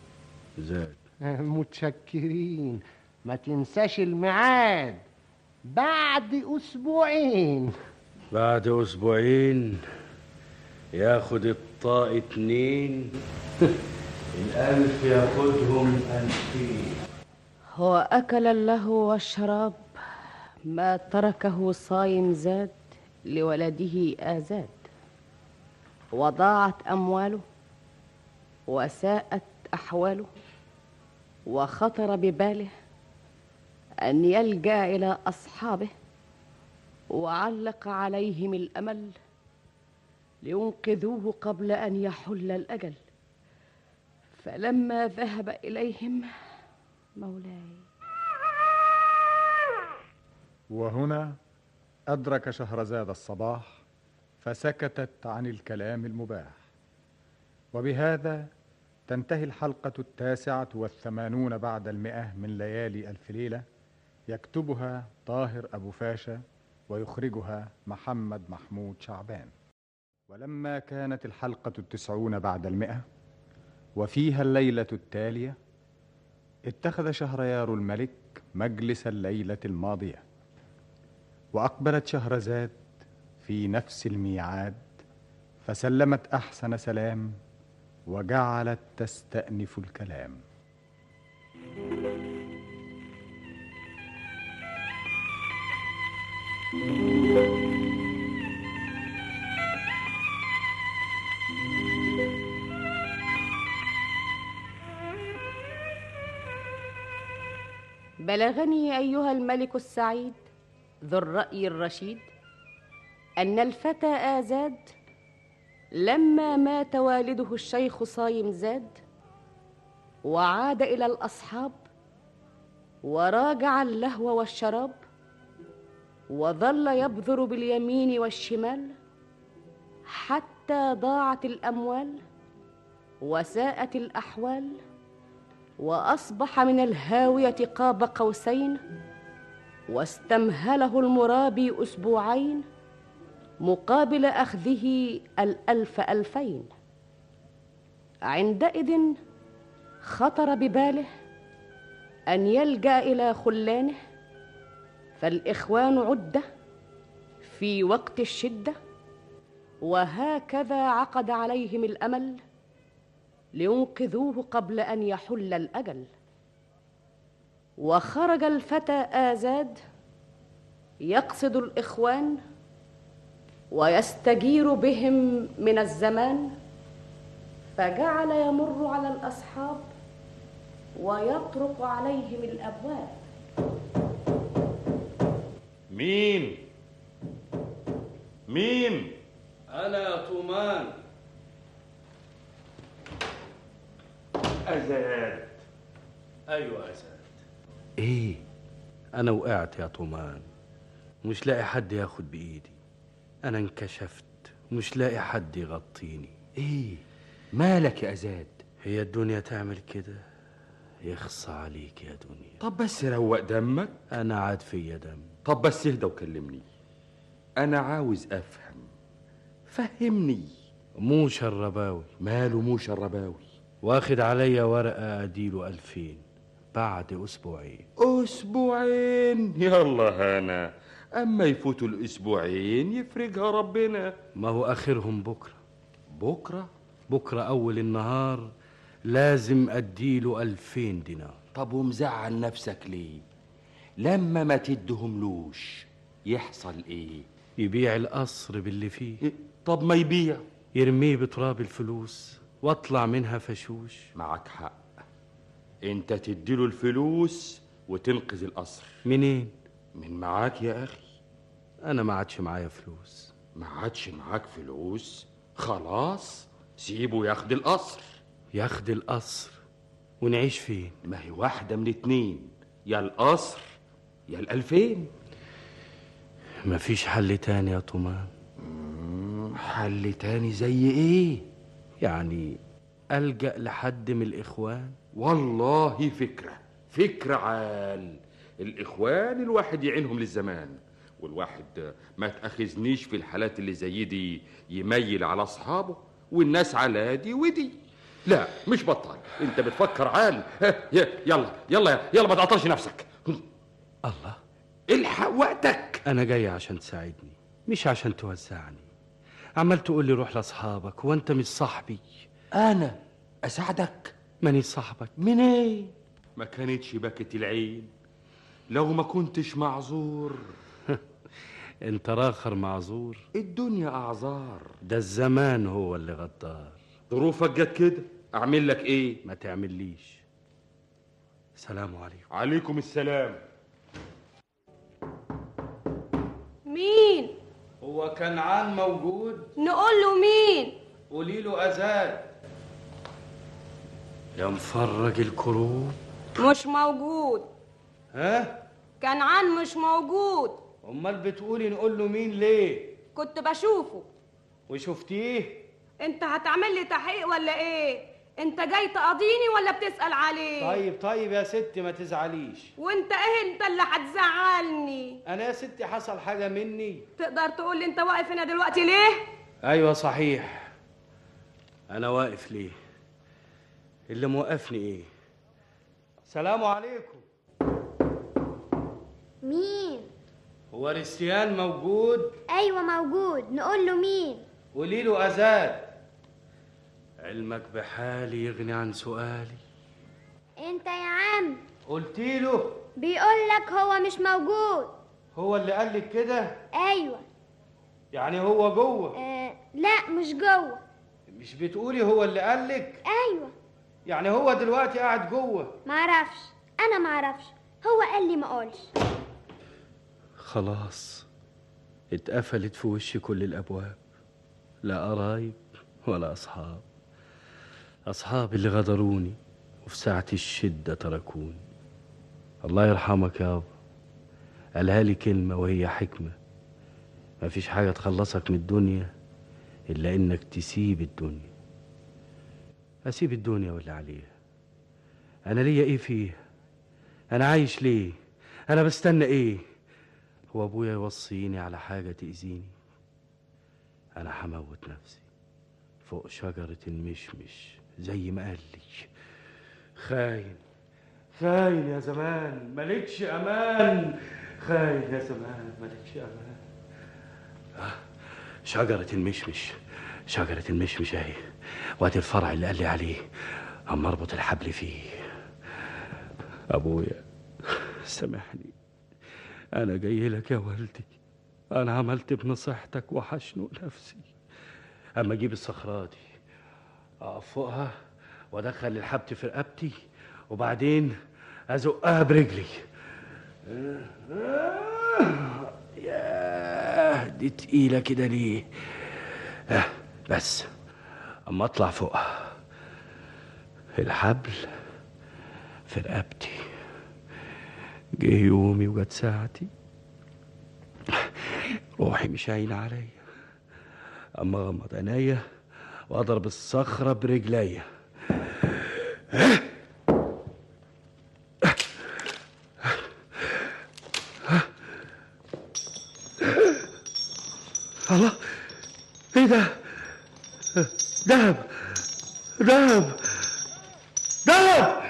S7: زاد
S16: متشكرين ما تنساش الميعاد بعد أسبوعين
S7: بعد أسبوعين ياخد الطاء اتنين [LAUGHS] الألف ياخدهم ألفين
S2: هو أكل اللهو والشراب ما تركه صايم زاد لولده آزاد وضاعت أمواله وساءت أحواله وخطر بباله أن يلجأ إلى أصحابه وعلق عليهم الأمل لينقذوه قبل أن يحل الأجل فلما ذهب إليهم مولاي
S1: وهنا أدرك شهرزاد الصباح فسكتت عن الكلام المباح وبهذا تنتهي الحلقة التاسعة والثمانون بعد المئة من ليالي ألف ليلة يكتبها طاهر أبو فاشا ويخرجها محمد محمود شعبان ولما كانت الحلقة التسعون بعد المئة وفيها الليلة التالية اتخذ شهريار الملك مجلس الليلة الماضية وأقبلت شهرزاد في نفس الميعاد فسلمت أحسن سلام وجعلت تستأنف الكلام
S2: بلغني ايها الملك السعيد ذو الراي الرشيد ان الفتى ازاد لما مات والده الشيخ صايم زاد وعاد الى الاصحاب وراجع اللهو والشراب وظل يبذر باليمين والشمال حتى ضاعت الاموال وساءت الاحوال واصبح من الهاويه قاب قوسين واستمهله المرابي اسبوعين مقابل اخذه الالف الفين عندئذ خطر بباله ان يلجا الى خلانه فالاخوان عده في وقت الشده وهكذا عقد عليهم الامل لينقذوه قبل ان يحل الاجل وخرج الفتى ازاد يقصد الاخوان ويستجير بهم من الزمان فجعل يمر على الاصحاب ويطرق عليهم الابواب
S17: مين مين
S14: أنا طومان
S17: أزاد أيوة أزاد
S7: ايه انا وقعت يا طومان مش لاقي حد ياخد بايدي انا انكشفت مش لاقي حد يغطيني
S17: إيه،
S13: ايه مالك يا ازاد
S7: هي الدنيا تعمل كده يخص عليك يا دنيا
S17: طب بس روق دمك
S7: انا عاد فيا دم
S17: طب بس اهدى وكلمني أنا عاوز أفهم فهمني
S7: مو شرباوي
S17: ماله مو شرباوي
S7: واخد عليا ورقة أديله ألفين بعد أسبوعين
S17: أسبوعين يلا هانا أما يفوتوا الأسبوعين يفرجها ربنا
S7: ما هو آخرهم بكرة
S17: بكرة
S7: بكرة أول النهار لازم أديله ألفين دينار
S17: طب ومزعل نفسك ليه لما ما تدهملوش يحصل ايه
S7: يبيع القصر باللي فيه
S17: طب ما يبيع
S7: يرميه بتراب الفلوس واطلع منها فشوش
S17: معك حق انت تديله الفلوس وتنقذ القصر
S7: منين
S17: من معاك يا اخي
S7: انا ما عادش معايا فلوس
S17: ما عادش معاك فلوس خلاص سيبه ياخد القصر
S7: ياخد القصر ونعيش فين
S17: ما هي واحدة من اتنين يا القصر يا الألفين
S7: مفيش حل تاني يا طمان
S17: حل تاني زي ايه
S7: يعني ألجأ لحد من الإخوان
S17: والله فكرة فكرة عال الإخوان الواحد يعينهم للزمان
S18: والواحد ما تأخذنيش في الحالات اللي زي دي يميل على أصحابه والناس على دي ودي لا مش بطال انت بتفكر عال ها، ي- يلا يلا يلا ما تعطلش نفسك
S7: الله
S18: الحق وقتك
S7: أنا جاي عشان تساعدني مش عشان توزعني عمال تقول لي روح لأصحابك وأنت مش صاحبي
S17: أنا أساعدك
S7: ماني صاحبك
S17: من إيه؟
S18: ما كانتش باكت العين لو ما كنتش معذور
S7: أنت راخر معذور
S18: الدنيا أعذار
S7: ده الزمان هو اللي غدار
S18: ظروفك جت كده أعمل لك إيه؟
S7: ما تعمليش سلام عليكم
S18: عليكم السلام
S19: مين
S14: هو كنعان موجود
S19: نقول له مين
S14: قولي له أزاد
S7: يا مفرج الكروب
S19: مش موجود
S14: ها
S19: كنعان مش موجود
S14: امال بتقولي نقول له مين ليه
S19: كنت بشوفه
S14: وشفتيه
S19: انت هتعمل لي تحقيق ولا ايه انت جاي تقاضيني ولا بتسأل عليه
S14: طيب طيب يا ستي ما تزعليش
S19: وانت ايه انت اللي هتزعلني
S14: انا يا ستي حصل حاجه مني
S19: تقدر تقول لي انت واقف هنا دلوقتي ليه
S7: أيوة صحيح أنا واقف ليه اللي موقفني إيه
S14: سلام عليكم
S20: مين
S14: هو ريستيان موجود
S20: ايوه موجود نقول له مين
S14: قولي له أزاد
S7: علمك بحالي يغني عن سؤالي
S20: انت يا عم
S14: قلت له
S20: بيقول لك هو مش موجود
S14: هو اللي قال لك كده
S20: ايوه
S14: يعني هو جوه
S20: آه لا مش جوه
S14: مش بتقولي هو اللي قال لك
S20: ايوه
S14: يعني هو دلوقتي قاعد جوه
S20: معرفش انا معرفش هو قال لي ما اقولش
S7: خلاص اتقفلت في وشي كل الأبواب لا قرايب ولا أصحاب أصحابي اللي غدروني وفي ساعة الشدة تركوني الله يرحمك يابا قالها لي كلمة وهي حكمة مفيش حاجة تخلصك من الدنيا إلا إنك تسيب الدنيا أسيب الدنيا واللي عليها أنا ليا إيه فيها أنا عايش ليه أنا بستنى إيه هو أبويا يوصيني على حاجة تأذيني أنا هموت نفسي فوق شجرة المشمش زي ما قال لي خاين
S14: خاين يا زمان مالكش امان خاين يا زمان مالكش امان
S7: شجرة المشمش شجرة المشمش اهي وادي الفرع اللي قال لي عليه اما اربط الحبل فيه ابويا سامحني انا جاي لك يا والدي انا عملت بنصيحتك وحشنق نفسي اما اجيب الصخرة دي اقف فوقها وادخل الحبل في رقبتي وبعدين ازقها برجلي ياه آه، دي تقيلة كده ليه آه بس أما أطلع فوق الحبل في رقبتي جه يومي وجت ساعتي روحي مش عاينة عليا أما أغمض عينيا وأضرب الصخرة برجليا الله ايه ده دهب دهب دهب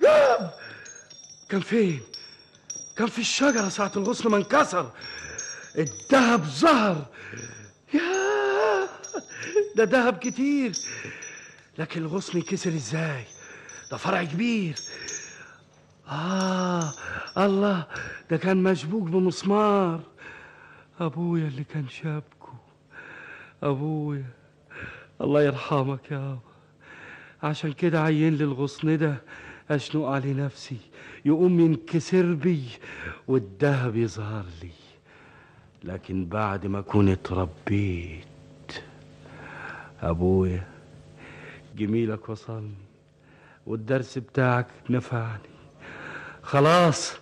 S7: دهب كان فين كان في الشجره ساعه الغصن ما انكسر الدهب ظهر ياه ده دهب كتير لكن الغصن يكسر ازاي ده فرع كبير اه الله ده كان مشبوك بمسمار أبويا اللي كان شابكو أبويا الله يرحمك يا أبا عشان كده عين لي الغصن ده أشنق عليه نفسي يقوم ينكسر بي والدهب يظهر لي لكن بعد ما أكون اتربيت أبويا جميلك وصلني والدرس بتاعك نفعني خلاص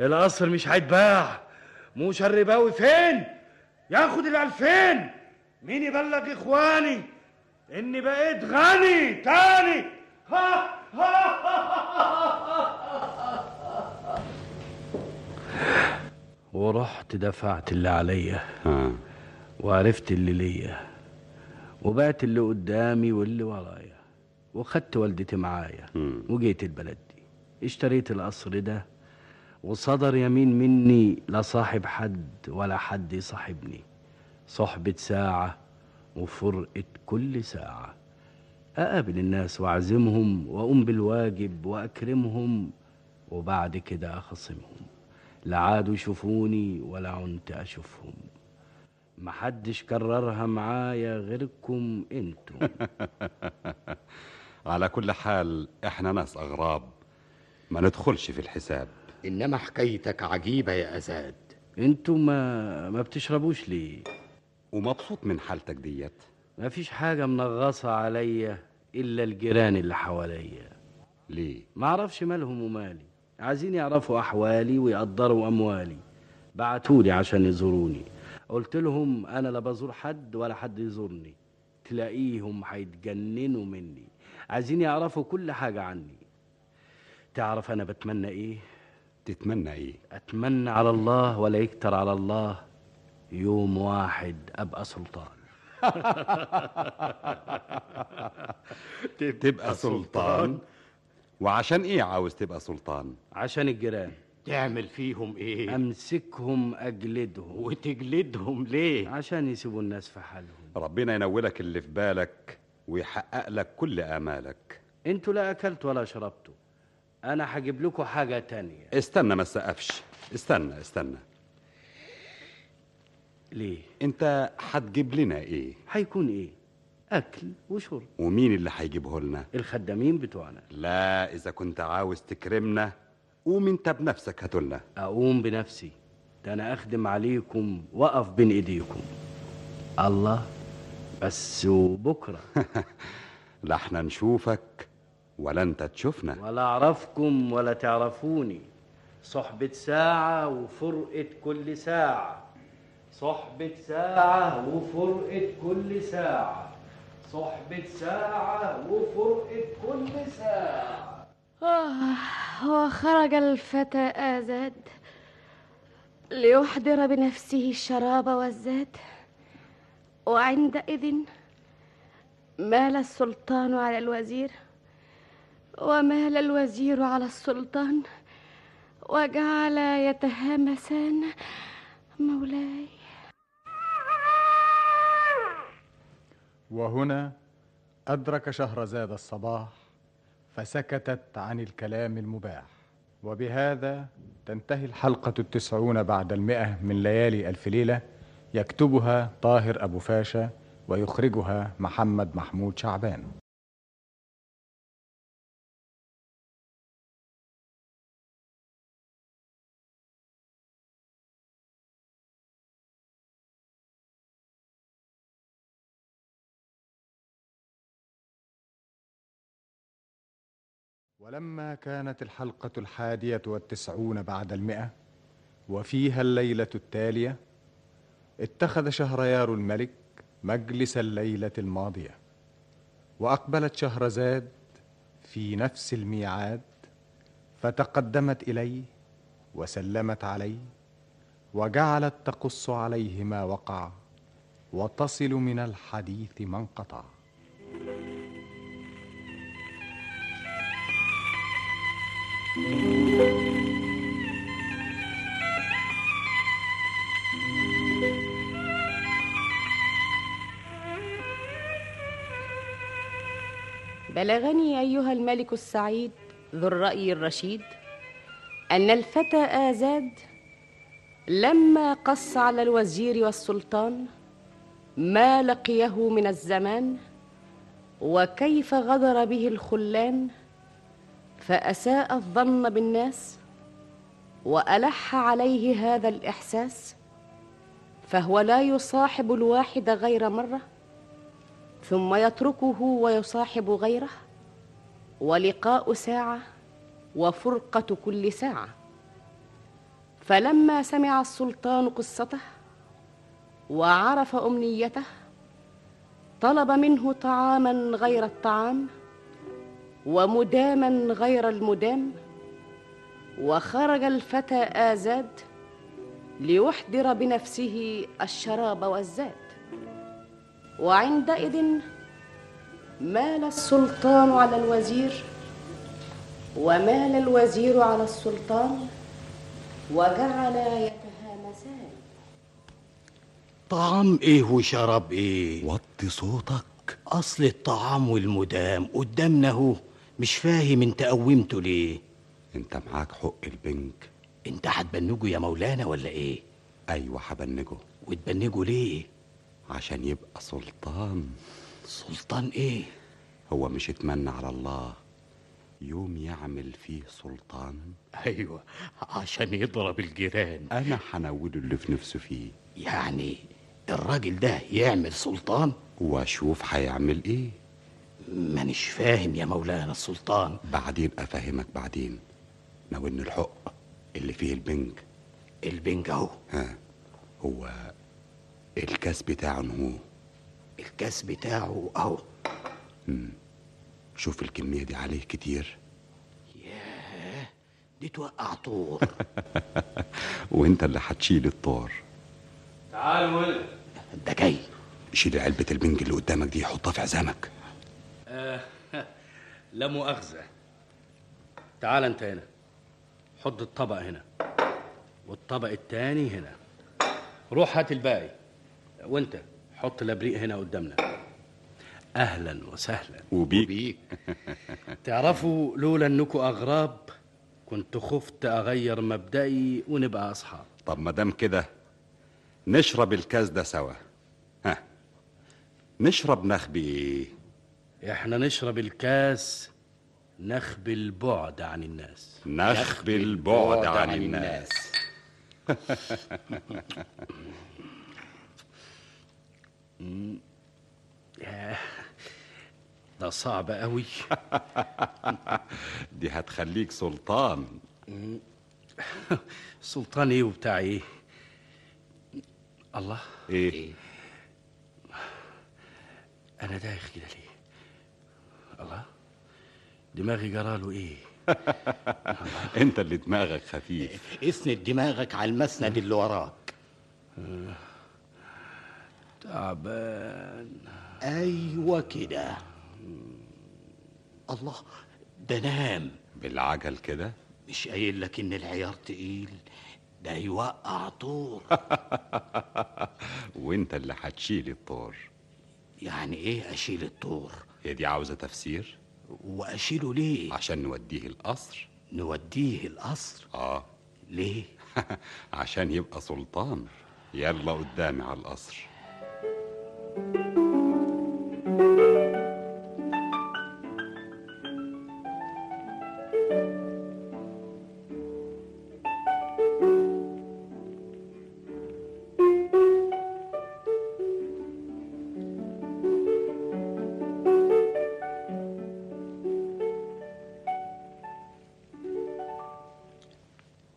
S7: القصر مش هيتباع موسى الرباوي فين ياخد الألفين مين يبلغ إخواني إني بقيت غني تاني ها ها ورحت دفعت اللي عليا
S9: ها
S7: وعرفت اللي ليا وبعت اللي قدامي واللي ورايا وخدت والدتي معايا وجيت البلد دي اشتريت القصر ده وصدر يمين مني لا صاحب حد ولا حد يصاحبني صحبة ساعة وفرقة كل ساعة أقابل الناس وأعزمهم وأقوم بالواجب وأكرمهم وبعد كده أخصمهم لا عادوا يشوفوني ولا عنت أشوفهم محدش كررها معايا غيركم انتوا
S9: على كل حال احنا ناس اغراب ما ندخلش في الحساب
S13: انما حكايتك عجيبه يا ازاد
S7: انتوا ما ما بتشربوش ليه
S9: ومبسوط من حالتك ديت
S7: ما فيش حاجه منغصه عليا الا الجيران اللي حواليا [LAUGHS]
S9: ليه
S7: ما اعرفش مالهم ومالي عايزين يعرفوا احوالي ويقدروا اموالي بعتولي عشان يزوروني قلت لهم انا لا بزور حد ولا حد يزورني تلاقيهم هيتجننوا مني عايزين يعرفوا كل حاجه عني تعرف انا بتمنى ايه
S9: تتمنى ايه
S7: اتمنى على الله ولا يكتر على الله يوم واحد ابقى سلطان
S9: تبقى سلطان وعشان ايه عاوز تبقى سلطان
S7: عشان الجيران
S13: تعمل فيهم ايه
S7: امسكهم اجلدهم
S13: وتجلدهم ليه
S7: عشان يسيبوا الناس في حالهم
S9: ربنا ينولك اللي في بالك ويحقق لك كل امالك
S7: انتوا لا اكلتوا ولا شربتوا انا هجيب لكم حاجه تانية
S9: استنى ما تسقفش استنى استنى
S7: ليه
S9: انت هتجيب لنا ايه
S7: هيكون ايه اكل وشرب
S9: ومين اللي هيجيبه لنا
S7: الخدامين بتوعنا
S9: لا اذا كنت عاوز تكرمنا قوم انت بنفسك هاتولنا
S7: اقوم بنفسي ده انا اخدم عليكم واقف بين ايديكم الله بس وبكره [LAUGHS]
S9: لا احنا نشوفك ولا انت تشوفنا
S7: ولا اعرفكم ولا تعرفوني صحبة ساعة وفرقة كل ساعة صحبة ساعة وفرقة كل ساعة صحبة ساعة وفرقة كل ساعة
S20: آه، وخرج الفتى آزاد ليحضر بنفسه الشراب والزاد
S19: وعندئذ
S20: مال السلطان على الوزير ومال الوزير على السلطان وجعلا يتهامسان مولاي
S1: وهنا أدرك شهرزاد الصباح فسكتت عن الكلام المباح وبهذا تنتهي الحلقة التسعون بعد المئة من ليالي ألف ليلة يكتبها طاهر أبو فاشا ويخرجها محمد محمود شعبان ولما كانت الحلقة الحادية والتسعون بعد المئة وفيها الليلة التالية اتخذ شهريار الملك مجلس الليلة الماضية وأقبلت شهرزاد في نفس الميعاد فتقدمت إليه وسلمت عليه وجعلت تقص عليه ما وقع وتصل من الحديث ما انقطع
S2: بلغني أيها الملك السعيد ذو الرأي الرشيد أن الفتى آزاد لما قص على الوزير والسلطان ما لقيه من الزمان وكيف غدر به الخلان فأساء الظن بالناس وألح عليه هذا الإحساس فهو لا يصاحب الواحد غير مرة ثم يتركه ويصاحب غيره ولقاء ساعة وفرقة كل ساعة فلما سمع السلطان قصته وعرف أمنيته طلب منه طعاما غير الطعام ومداما غير المدام وخرج الفتى آزاد ليحضر بنفسه الشراب والزاد وعندئذ مال السلطان على الوزير ومال الوزير على السلطان وجعلا يتهامسان
S13: طعام ايه وشراب ايه وطي صوتك اصل الطعام والمدام قدامنا اهو مش فاهم انت قومته ليه
S9: انت معاك حق البنك
S13: انت هتبنجه يا مولانا ولا ايه
S9: ايوه هبنجه
S13: وتبنجه ليه
S9: عشان يبقى سلطان
S13: سلطان ايه
S9: هو مش اتمنى على الله يوم يعمل فيه سلطان
S13: ايوه عشان يضرب الجيران
S9: انا هنوله اللي في نفسه فيه
S13: يعني الراجل ده يعمل سلطان
S9: واشوف هيعمل ايه
S13: مانيش فاهم يا مولانا السلطان
S9: بعدين افهمك بعدين ناولني الحق اللي فيه البنج
S13: البنج اهو
S9: ها هو الكاس بتاعه هو
S13: الكاس بتاعه اهو
S9: شوف الكمية دي عليه كتير
S13: ياه دي توقع
S9: [LAUGHS]
S13: طور
S9: وانت اللي هتشيل الطار
S14: تعال ولد
S13: ده جاي
S9: شيل علبة البنج اللي قدامك دي حطها في عزامك
S7: آه، [LAUGHS] لا مؤاخذة تعال انت هنا حط الطبق هنا والطبق التاني هنا روح هات الباقي وانت حط الابريق هنا قدامنا
S9: [LAUGHS]
S7: اهلا وسهلا
S9: وبيك
S7: تعرفوا لولا انكم اغراب كنت خفت اغير مبدئي ونبقى اصحاب
S9: [LAUGHS] طب ما دام كده نشرب الكاس ده سوا ها نشرب نخبي ايه
S7: احنا نشرب الكاس نخبي البعد عن الناس
S9: نخبي البعد عن الناس
S7: مم. ياه، [LAUGHS] ده صعب قوي
S9: دي هتخليك سلطان
S7: [LAUGHS] سلطان ايه وبتاع ايه الله
S9: ايه
S7: انا دايخ كده ليه الله دماغي
S9: [LAUGHS]
S7: جراله ايه
S9: انت اللي دماغك خفيف
S13: اسند دماغك على المسند اللي وراك
S7: تعبان
S13: ايوه كده الله ده نام
S9: بالعجل كده
S13: مش قايل لك ان العيار تقيل ده يوقع
S9: [LAUGHS]
S13: طور
S9: وانت اللي هتشيل الطار
S13: يعني ايه اشيل الطور
S9: هي دي عاوزة تفسير
S13: واشيله ليه
S9: عشان نوديه القصر
S13: نوديه القصر
S9: اه
S13: ليه
S9: [LAUGHS] عشان يبقى سلطان يلا قدامي على القصر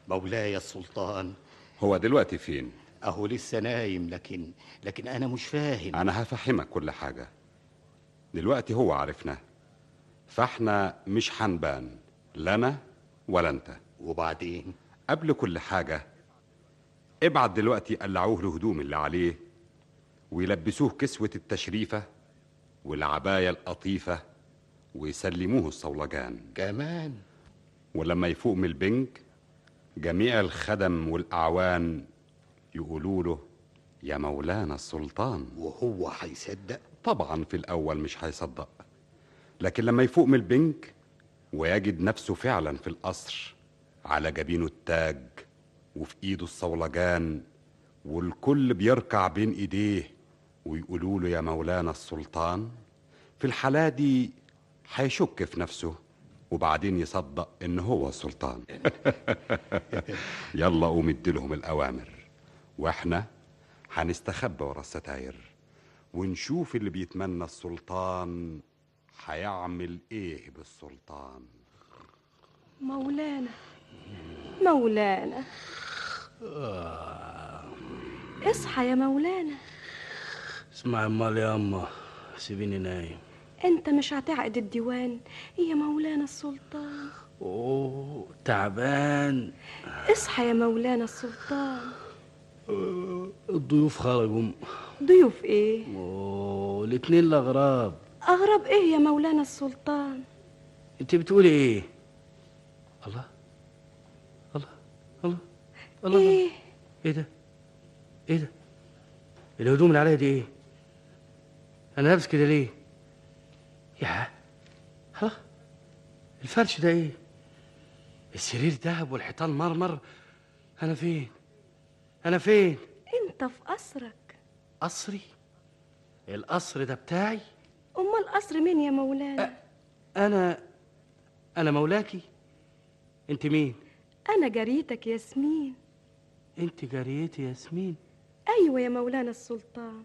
S13: مولاي السلطان
S9: هو دلوقتي فين
S13: اهو لسه نايم لكن لكن انا مش فاهم
S9: انا هفهمك كل حاجة دلوقتي هو عرفنا فاحنا مش هنبان لا انا ولا انت
S13: وبعدين
S9: قبل كل حاجة ابعت دلوقتي قلعوه الهدوم اللي عليه ويلبسوه كسوة التشريفة والعباية القطيفة ويسلموه الصولجان
S13: كمان
S9: ولما يفوق من البنج جميع الخدم والأعوان يقولوا له يا مولانا السلطان
S13: وهو هيصدق
S9: طبعا في الأول مش هيصدق لكن لما يفوق من البنج ويجد نفسه فعلا في القصر على جبينه التاج وفي ايده الصولجان والكل بيركع بين ايديه ويقولوا له يا مولانا السلطان في الحالة دي هيشك في نفسه وبعدين يصدق ان هو سلطان يلا قوم اديلهم الاوامر واحنا هنستخبى ورا الستاير ونشوف اللي بيتمنى السلطان هيعمل ايه بالسلطان
S19: مولانا مولانا
S7: آه،
S19: اصحى يا مولانا
S7: اسمع امال يا اما سيبيني نايم
S19: انت مش هتعقد الديوان يا مولانا السلطان
S7: اوه تعبان
S19: اصحى يا مولانا السلطان
S7: آه، الضيوف خرجوا
S19: ضيوف ايه
S7: أوه، الاتنين الأغراب
S19: اغرب ايه يا مولانا السلطان
S7: أنت بتقولي إيه؟ الله الله
S19: ايه
S7: إيه ده؟ إيه ده؟ الهدوم اللي عليا دي إيه؟ أنا لابس كده ليه؟ يا الله الفرش ده إيه؟ السرير ذهب والحيطان مرمر أنا فين؟ أنا فين؟
S19: انت في قصرك
S7: قصري؟ القصر ده بتاعي؟
S19: امال قصر مين يا مولانا
S7: أنا أنا مولاكي؟ أنت مين؟
S19: انا جريتك ياسمين
S7: أنت جاريتي ياسمين
S19: ايوه يا مولانا السلطان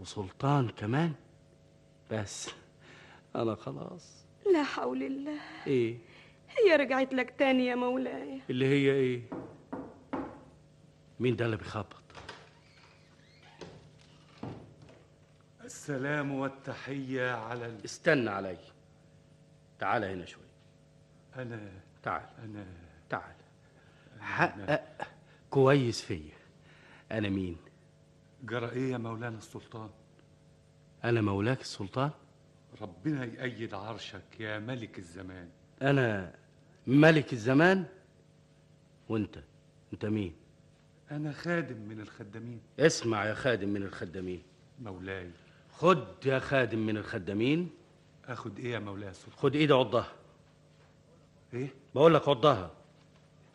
S7: وسلطان كمان بس أنا خلاص
S19: لا حول الله
S7: إيه؟
S19: هي رجعت لك تاني يا مولاي
S7: اللي هي ايه مين ده اللي بيخبط
S14: السلام والتحية على ال...
S7: استنى علي تعال هنا شوي
S14: أنا
S7: تعال
S14: أنا
S7: تعال حقق كويس فيا انا مين
S14: جرى إيه يا مولانا السلطان؟
S7: انا مولاك السلطان
S14: ربنا يأيد عرشك يا ملك الزمان
S7: انا ملك الزمان وانت انت مين
S14: أنا خادم من الخدامين
S7: اسمع يا خادم من الخدامين
S14: مولاي
S7: خد يا خادم من الخدامين
S14: آخد إيه يا مولاي السلطان؟
S7: خد ايدي عضها
S14: إيه؟
S7: بقول لك عضها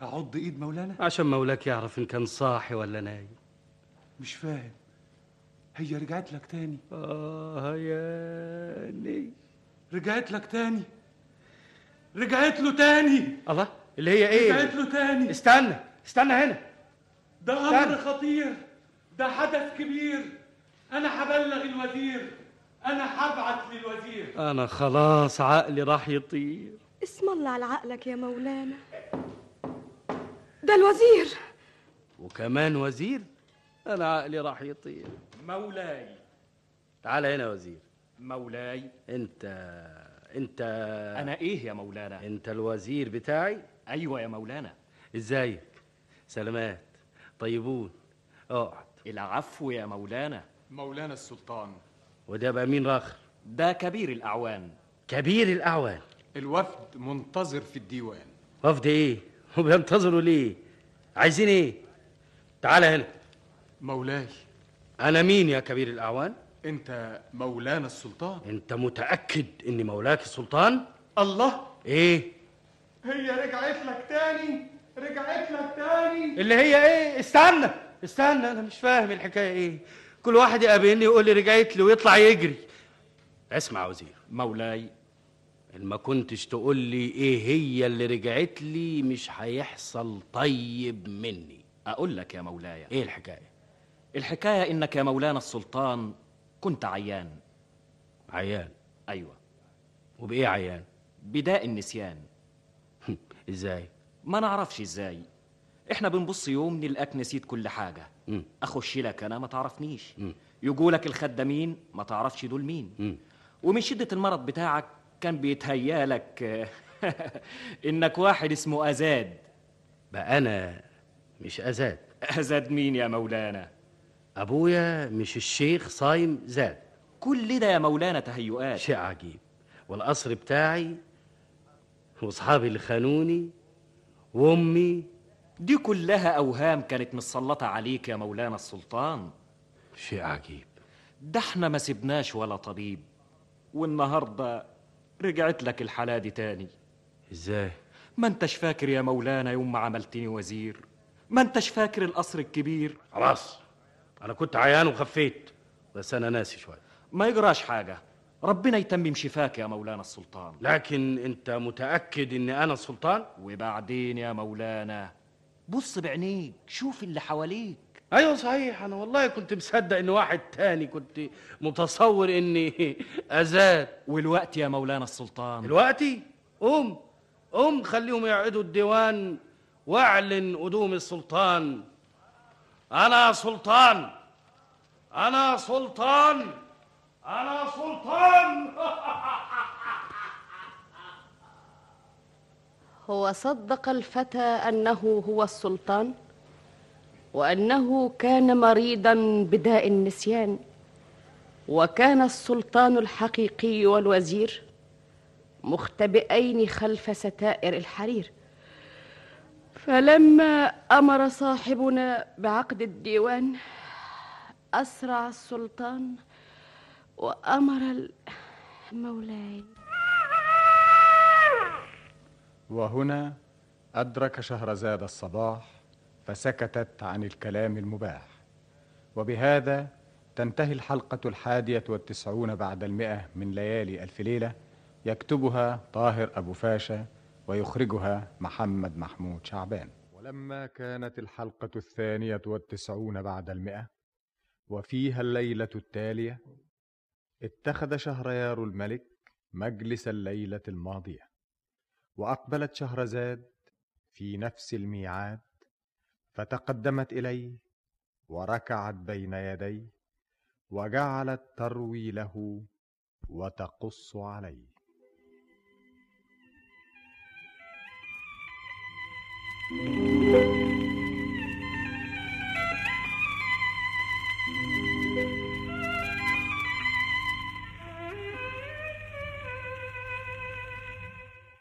S14: أعض إيد مولانا؟
S7: عشان مولاك يعرف ان كان صاحي ولا نايم
S14: مش فاهم هي رجعت لك تاني
S7: آه هياني
S14: رجعت لك تاني رجعت له تاني
S7: الله اللي هي ايه
S14: رجعت له تاني
S7: استنى استنى هنا
S14: ده
S7: استنى.
S14: أمر خطير ده حدث كبير أنا هبلغ الوزير أنا هبعت للوزير
S7: انا خلاص عقلي راح يطير
S19: اسم الله على عقلك يا مولانا ده الوزير [LAUGHS]
S7: وكمان وزير انا عقلي راح يطير
S21: مولاي
S7: تعال هنا يا وزير
S21: مولاي
S7: انت انت
S21: انا ايه يا مولانا
S7: انت الوزير بتاعي
S21: ايوه يا مولانا
S7: ازيك سلامات طيبون اقعد
S21: العفو يا مولانا
S1: مولانا السلطان
S7: وده بقى مين راخر
S21: ده كبير الاعوان
S7: كبير الاعوان
S1: الوفد منتظر في الديوان
S7: وفد ايه وبينتظروا ليه عايزين ايه تعال هنا
S1: مولاي
S7: انا مين يا كبير الاعوان
S1: انت مولانا السلطان
S7: انت متاكد اني مولاك السلطان
S1: الله
S7: ايه
S14: هي رجعت لك تاني رجعت لك تاني
S7: اللي هي ايه استنى استنى انا مش فاهم الحكايه ايه كل واحد يقابلني يقول لي رجعت لي ويطلع يجري اسمع يا وزير
S21: مولاي
S7: ما كنتش تقول لي ايه هي اللي رجعت لي مش هيحصل طيب مني
S21: اقول لك يا مولاي إيه
S7: ايه الحكايه
S21: الحكايه انك يا مولانا السلطان كنت عيان
S7: عيان
S21: ايوه
S7: وبايه عيان [LAUGHS]
S21: بداء النسيان
S7: ازاي
S21: ما نعرفش ازاي احنا بنبص يوم نلقاك نسيت كل حاجه
S7: مم.
S21: اخش لك انا ما تعرفنيش
S7: مم.
S21: يقولك الخدامين ما تعرفش دول مين
S7: مم.
S21: ومن شدة المرض بتاعك كان بيتهيالك [LAUGHS] إنك واحد اسمه أزاد
S7: بقى أنا مش أزاد
S21: أزاد مين يا مولانا؟
S7: ابويا مش الشيخ صايم زاد
S21: كل ده يا مولانا تهيؤات
S7: شيء عجيب والقصر بتاعي واصحابي اللي خانوني وامي
S21: دي كلها أوهام كانت متسلطة عليك يا مولانا السلطان
S7: شيء عجيب
S21: ده احنا ما سبناش ولا طبيب والنهاردة رجعت لك الحالة دي تاني
S7: ازاي
S21: ما انتش فاكر يا مولانا يوم ما عملتني وزير ما انتش فاكر القصر الكبير
S7: خلاص انا كنت عيان وخفيت بس انا ناسي شويه
S21: ما يجراش حاجة ربنا يتمم شفاك يا مولانا السلطان
S7: لكن انت متاكد ان انا السلطان
S21: وبعدين يا مولانا بص بعينيك شوف اللي حواليك
S7: ايوه صحيح انا والله كنت مصدق ان واحد تاني كنت متصور اني ازاد
S21: والوقت يا مولانا السلطان
S7: دلوقتي قوم قوم خليهم يقعدوا الديوان واعلن قدوم السلطان انا سلطان انا سلطان انا سلطان
S2: هو صدق الفتى انه هو السلطان وانه كان مريضا بداء النسيان وكان السلطان الحقيقي والوزير مختبئين خلف ستائر الحرير فلما امر صاحبنا بعقد الديوان اسرع السلطان وامر ال- مولاي
S1: وهنا أدرك شهرزاد الصباح فسكتت عن الكلام المباح وبهذا تنتهي الحلقة الحادية والتسعون بعد المئة من ليالي ألف ليلة يكتبها طاهر أبو فاشا ويخرجها محمد محمود شعبان ولما كانت الحلقة الثانية والتسعون بعد المئة وفيها الليلة التالية اتخذ شهريار الملك مجلس الليلة الماضية واقبلت شهرزاد في نفس الميعاد فتقدمت اليه وركعت بين يديه وجعلت تروي له وتقص عليه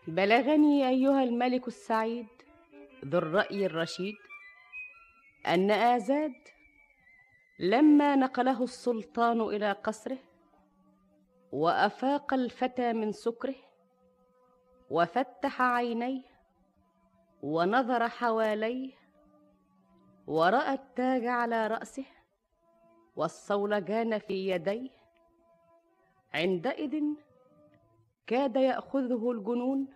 S2: بلغني ايها الملك السعيد ذو الراي الرشيد ان ازاد لما نقله السلطان الى قصره وافاق الفتى من سكره وفتح عينيه ونظر حواليه وراى التاج على راسه والصولجان في يديه عندئذ كاد ياخذه الجنون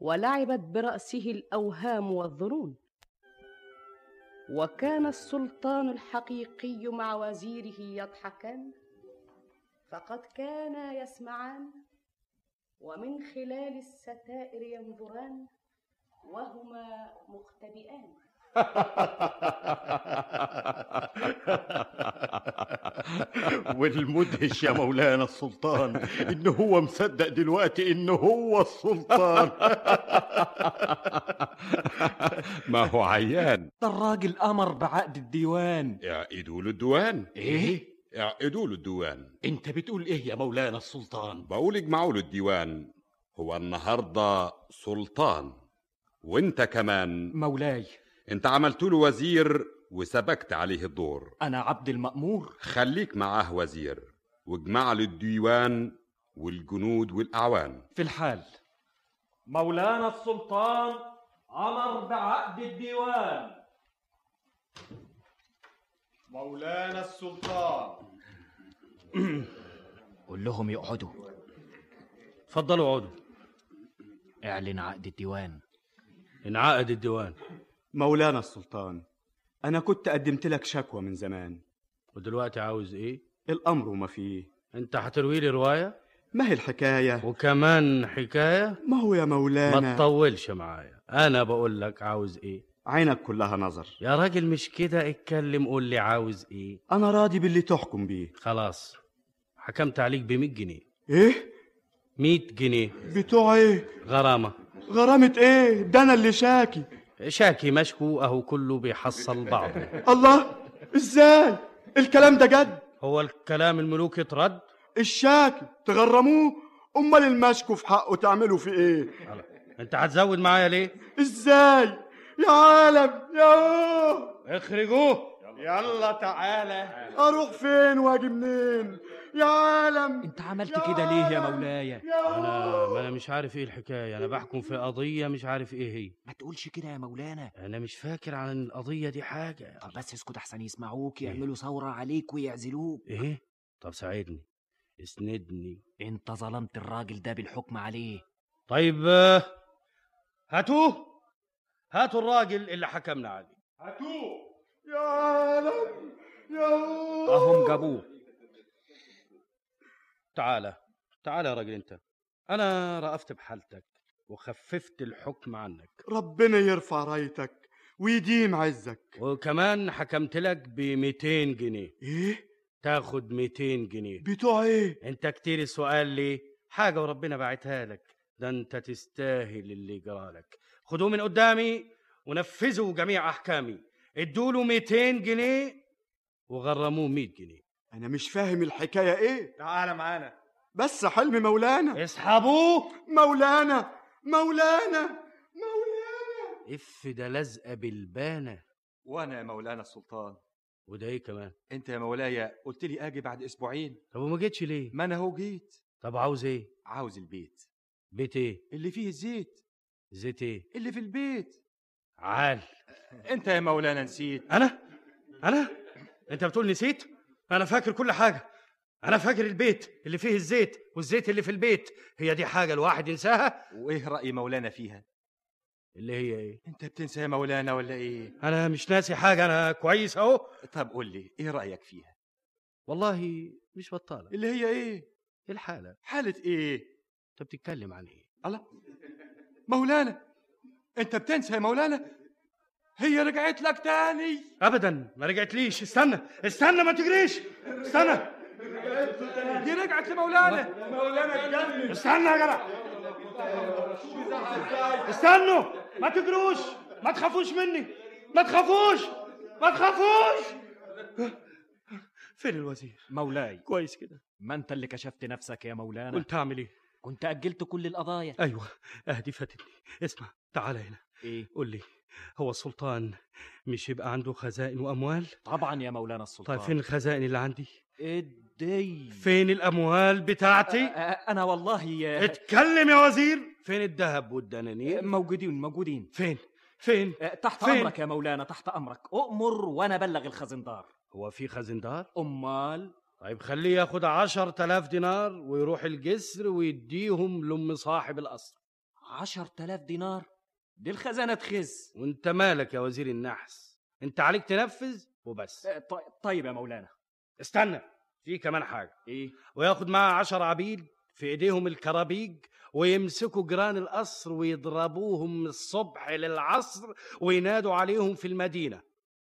S2: ولعبت براسه الاوهام والظنون وكان السلطان الحقيقي مع وزيره يضحكان فقد كانا يسمعان ومن خلال الستائر ينظران وهما مختبئان
S11: [LAUGHS] والمدهش يا مولانا السلطان ان هو مصدق دلوقتي ان
S6: [LAUGHS]
S11: هو السلطان
S18: ما هو عيان
S21: [LAUGHS] ده الراجل امر بعقد الديوان
S18: اعقدوا له الديوان
S11: إيه؟
S18: اعقدوا له الديوان
S11: انت بتقول
S21: إيه
S11: ايه يا مولانا السلطان
S18: بقول اجمعوا له الديوان هو النهارده سلطان وانت كمان
S21: مولاي
S18: انت عملت له وزير وسبكت عليه الدور
S21: انا عبد المامور
S18: خليك معاه وزير واجمع له الديوان والجنود والاعوان
S21: في الحال
S14: مولانا
S21: [CLEARS THROAT]
S14: السلطان امر بعقد الديوان مولانا السلطان
S22: قول لهم يقعدوا اتفضلوا اقعدوا اعلن عقد الديوان
S7: انعقد الديوان
S6: مولانا السلطان أنا كنت قدمت لك شكوى من زمان
S7: ودلوقتي عاوز ايه؟
S6: الأمر وما فيه
S7: انت هتروي لي روايه
S6: ما هي الحكاية
S7: وكمان حكايه
S6: ما هو يا
S7: ما
S6: مولانا
S7: تطولش معايا انا بقول لك عاوز ايه
S6: عينك كلها نظر
S7: يا راجل مش كده اتكلم قول لي عاوز ايه
S6: أنا راضي باللي تحكم بيه
S7: خلاص حكمت عليك ب 100 جنيه
S6: إيه؟
S7: 100 جنيه
S6: بتوع إيه؟
S7: غرامه
S6: غرامة إيه؟ ده أنا اللي شاكي
S7: شاكي مشكو اهو كله بيحصل بعضه
S6: الله إزاي؟ الكلام ده جد
S7: هو الكلام الملوك اترد
S6: الشاكي تغرموه أمال المشكو في حقه تعملوا في إيه؟
S7: انت هتزود معايا ليه
S6: إزاي؟ يا عالم يا أوه.
S7: اخرجوه
S14: يلا تعالى
S6: أروح فين وأجي منين؟ يا عالم أنت
S22: عملت كده ليه يا مولاي
S7: انا ما انا مش عارف ايه الحكايه انا بحكم في قضيه مش عارف ايه هي
S22: ما تقولش كده يا مولانا
S7: انا مش فاكر عن إيه. القضيه دي حاجه
S21: آه،
S22: طب بس اسكت احسن يسمعوك يعملوا ثوره عليك ويعزلوك
S7: ايه طب ساعدني اسندني
S22: انت ظلمت الراجل ده بالحكم عليه
S7: طيب آه، هاتوه هاتوا الراجل اللي حكمنا عليه
S6: هاتوه يا عالم يا أوه.
S7: اهم جابوه تعالى تعالى يا راجل انت انا رأفت بحالتك وخففت الحكم عنك
S6: ربنا يرفع رايتك ويديم عزك
S7: وكمان حكمت لك ب 200 جنيه
S6: ايه
S7: تاخد 200 جنيه
S6: بتوع ايه
S7: انت كتير السؤال ليه حاجه وربنا باعتها لك ده انت تستاهل اللي جرالك خدوه من قدامي ونفذوا جميع احكامي ادوا له 200 جنيه وغرموه 100 جنيه
S6: انا مش فاهم الحكايه ايه
S14: تعال معانا
S6: بس حلم مولانا
S7: اسحبوه
S6: مولانا مولانا
S7: اف ده لازقه بالبانه
S23: وانا يا مولانا السلطان
S7: وده ايه كمان
S23: انت يا مولايا قلت لي اجي بعد اسبوعين
S7: طب وما جيتش ليه
S23: ما انا هو جيت
S7: طب عاوز ايه
S23: عاوز البيت
S7: بيت ايه
S23: اللي فيه الزيت
S7: زيت ايه
S23: اللي في البيت
S7: [LAUGHS] عال
S23: انت يا مولانا نسيت
S7: انا انا انت بتقول نسيت انا فاكر كل حاجه انا فاكر البيت اللي فيه الزيت والزيت اللي في البيت هي دي حاجه الواحد ينساها
S23: وايه راي مولانا فيها
S7: اللي هي ايه
S23: انت بتنسى يا مولانا ولا ايه
S7: انا مش ناسي حاجه انا كويس اهو
S23: طب قول لي ايه رايك فيها
S7: والله مش بطاله
S23: اللي هي ايه
S7: الحاله
S23: حاله ايه
S7: انت بتتكلم عن ايه
S23: الله مولانا انت بتنسى يا مولانا هي رجعت لك تاني
S7: ابدا ما رجعت ليش استنى استنى ما تجريش استنى
S23: دي رجعت لمولانا
S14: مولانا اتجنن
S7: استنى يا جدع استنوا ما تجروش ما تخافوش مني ما تخافوش ما تخافوش فين الوزير
S21: مولاي
S7: كويس كده
S21: ما انت اللي كشفت نفسك يا مولانا
S7: قلت اعمل ايه
S21: كنت اجلت كل القضايا
S7: ايوه اهدي فاتتني اسمع تعال هنا
S23: إيه؟
S21: ايه
S7: قول لي هو السلطان مش يبقى عنده خزائن واموال
S21: طبعا يا مولانا السلطان
S7: طيب فين الخزائن اللي عندي
S21: ادي آه،
S7: فين الاموال
S23: أه،
S7: بتاعتي
S21: انا والله آه،
S7: اتكلم يا وزير فين الذهب والدنانير
S21: موجودين موجودين
S7: فين فين
S21: آه، تحت
S7: فين؟
S21: امرك يا مولانا تحت امرك اؤمر وانا ابلغ الخزندار
S7: هو في خزندار
S21: امال
S7: طيب خليه ياخد عشرة آلاف دينار ويروح الجسر ويديهم لأم صاحب القصر
S21: عشر تلاف دينار دي الخزانة تخز
S7: وانت مالك يا وزير النحس انت عليك تنفذ وبس
S21: آه، طي- طيب يا مولانا
S7: استنى في كمان حاجة
S21: ايه
S7: وياخد معاه عشر عبيد في ايديهم الكرابيج ويمسكوا جيران القصر ويضربوهم من الصبح للعصر وينادوا عليهم في المدينة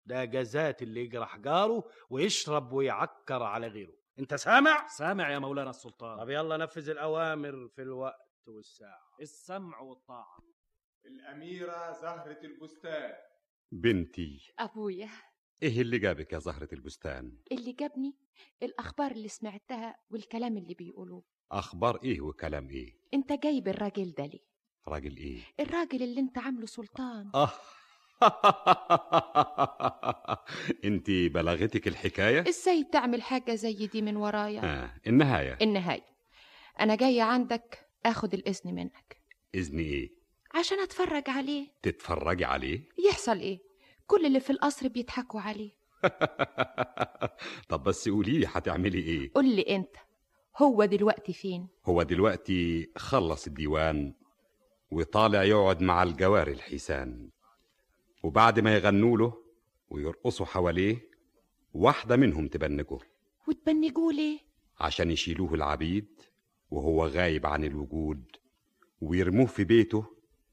S7: ده جزات اللي يجرح جاره ويشرب ويعكر على غيره انت سامع؟
S21: سامع يا مولانا السلطان
S7: طب يلا نفذ الأوامر في الوقت والساعة
S21: السمع والطاعة
S6: الاميره زهره البستان
S9: بنتي
S24: أبويا
S18: إيه
S9: ايه اللي جابك يا زهرة البستان
S24: اللي جابني الأخبار اللي سمعتها والكلام اللي بيقولوه
S9: اخبار ايه وكلام ايه
S24: أنت جايب الراجل ده ليه؟
S9: راجل [LAUGHS] ايه
S24: الراجل اللي أنت عامله
S9: [LAUGHS]
S24: سلطان
S9: اه انت بلغتك الحكاية
S24: إزاي تعمل حاجة زي دي من ورايا؟
S9: آه النهاية
S24: النهاية أنا جاية عندك آخد الإذن منك
S9: إذن إيه
S24: عشان أتفرج عليه
S9: تتفرجي عليه [LAUGHS]
S24: يحصل إيه؟ كل اللي في القصر بيضحكوا عليه
S9: طب بس قولي لي هتعملي إيه
S24: قول لي أنت هو دلوقتي فين؟
S9: هو دلوقتي خلص الديوان وطالع يقعد مع الجواري الحيسان وبعد ما يغنوا له ويرقصوا حواليه واحدة منهم تبنجه
S24: وتبنجوه ليه؟
S9: عشان يشيلوه العبيد وهو غايب عن الوجود ويرموه في بيته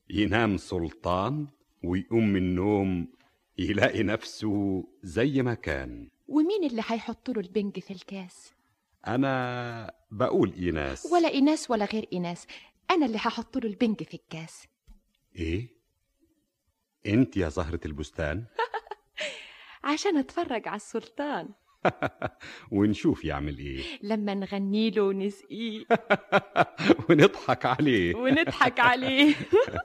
S9: ينام سلطان ويقوم من النوم يلاقي نفسه زي ما كان
S24: ومين اللي هيحط له البنج في الكاس؟
S9: أنا بقول إيناس
S24: ولا إناس ولا غير إناس أنا اللي هحط له البنج في الكاس
S9: إيه؟ أنت يا زهرة البستان [LAUGHS]
S24: عشان أتفرج على السلطان
S9: ونشوف يعمل إيه [LAUGHS]
S24: لما نغني له
S7: [LAUGHS]
S24: ونسقيه
S9: ونضحك عليه
S24: ونضحك عليه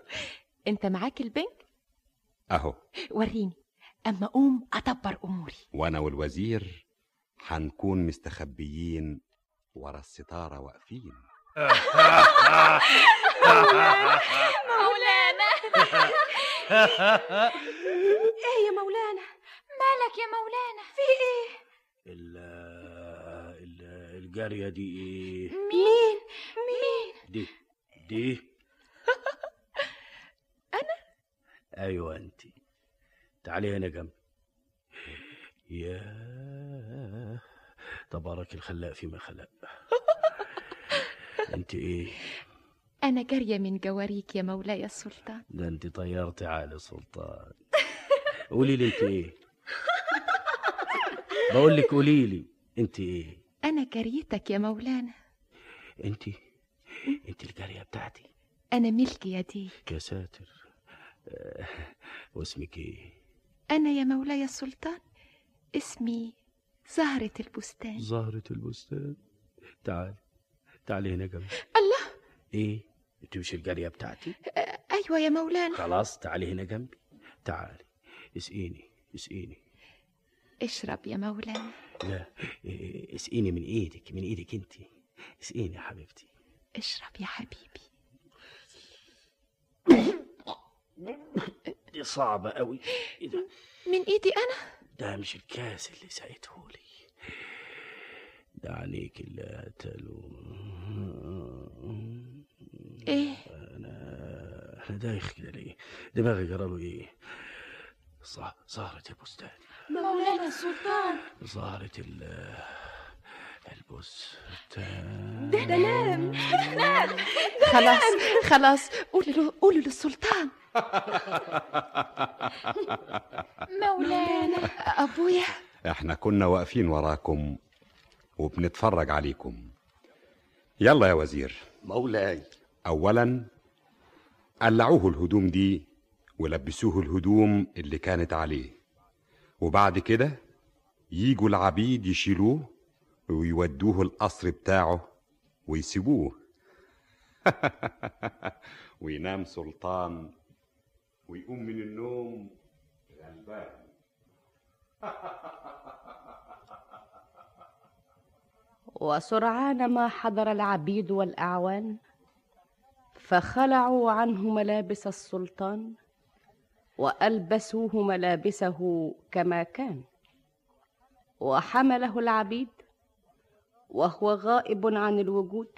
S24: [LAUGHS] انت معاك البنك
S9: [LAUGHS] أهو
S24: وريني اما اقوم ادبر اموري
S9: وأنا والوزير هنكون مستخبيين ورا الستارة واقفين
S20: مولانا
S19: [LAUGHS] ايه يا مولانا مالك يا مولانا في ايه
S7: الجارية دي إيه؟
S19: مين مين
S7: دي دي أنا؟ أيوة أنت تعالي هنا جنبي يا تبارك الخلاق فيما خلق أنت إيه؟
S24: انا جاريه من جواريك يا مولاي السلطان
S7: ده أنت طيرتي عالي سلطان قولي لي أنت إيه؟ بقول لك قولي لي أنت إيه؟
S24: انا جاريتك يا مولانا
S7: أنت أنت الجارية بتاعتي
S24: انا ملك يديك
S7: يا ساتر آه، واسمك ايه؟
S24: أنا يا مولاي السلطان اسمي زهرة البستان
S7: زهرة البستان تعالي تعالي هنا جنبي
S24: الله
S7: ايه انت مش الجارية بتاعتي
S24: آه، أيوة يا مولانا
S7: خلاص تعالي هنا جنبي تعالي اسقيني اسقيني
S24: اشرب يا مولانا
S7: لا إيه، اسقيني من ايدك من ايدك انت اسقيني يا حبيبتي
S24: اشرب يا حبيبي
S7: دي صعبة قوي ايه ده
S24: من إيدي أنا
S7: ده مش الكاس اللي سقيته لي ده عينيك اللي قتلوا
S24: إيه
S7: انا دايخ كده ليه دماغي جراله ايه صح زهرة البستان
S19: مولانا السلطان
S7: زهرة ال البستان
S24: ده نام نام خلاص خلاص قولوا له قولوا للسلطان مولانا أبويا
S9: احنا كنا واقفين وراكم وبنتفرج عليكم يلا يا وزير
S17: مولاي
S9: اولا قلعوه الهدوم دي ولبسوه الهدوم اللي كانت عليه وبعد كده يجوا العبيد يشيلوه ويودوه القصر بتاعه ويسيبوه [LAUGHS] وينام سلطان ويقوم من النوم غلبان
S2: وسرعان ما حضر العبيد والاعوان فخلعوا عنه ملابس السلطان والبسوه ملابسه كما كان وحمله العبيد وهو غائب عن الوجود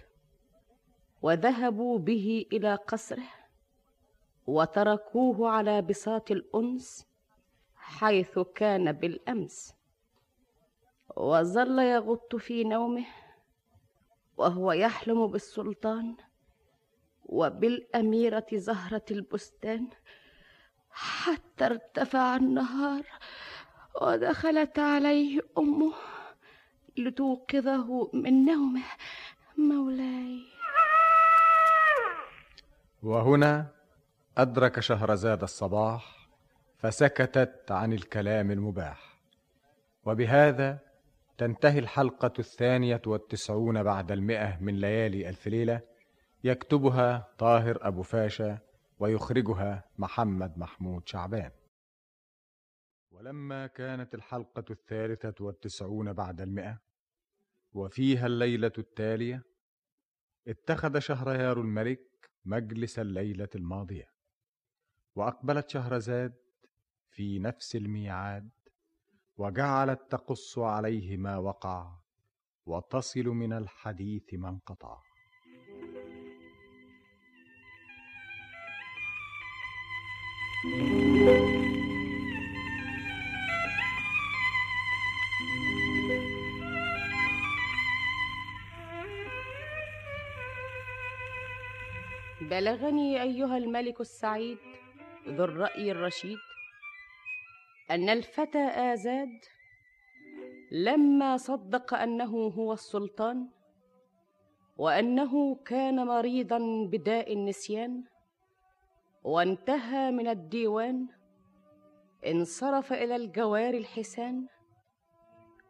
S2: وذهبوا به الى قصره وتركوه على بساط الانس حيث كان بالامس وظل يغط في نومه وهو يحلم بالسلطان وبالاميره زهره البستان حتى ارتفع النهار ودخلت عليه امه لتوقظه من نومه مولاي
S1: وهنا أدرك شهرزاد الصباح فسكتت عن الكلام المباح وبهذا تنتهي الحلقة الثانية والتسعون بعد المئة من ليالي ألف ليلة يكتبها طاهر أبو فاشا ويخرجها محمد محمود شعبان ولما كانت الحلقة الثالثة والتسعون بعد المئة وفيها الليلة التالية اتخذ شهريار الملك مجلس الليلة الماضية وأقبلت شهرزاد في نفس الميعاد وجعلت تقص عليه ما وقع وتصل من الحديث ما انقطع
S7: [LAUGHS]
S2: بلغني ايها الملك السعيد ذو الراي الرشيد ان الفتى ازاد لما صدق انه هو السلطان وانه كان مريضا بداء النسيان وانتهى من الديوان انصرف الى الجوار الحسان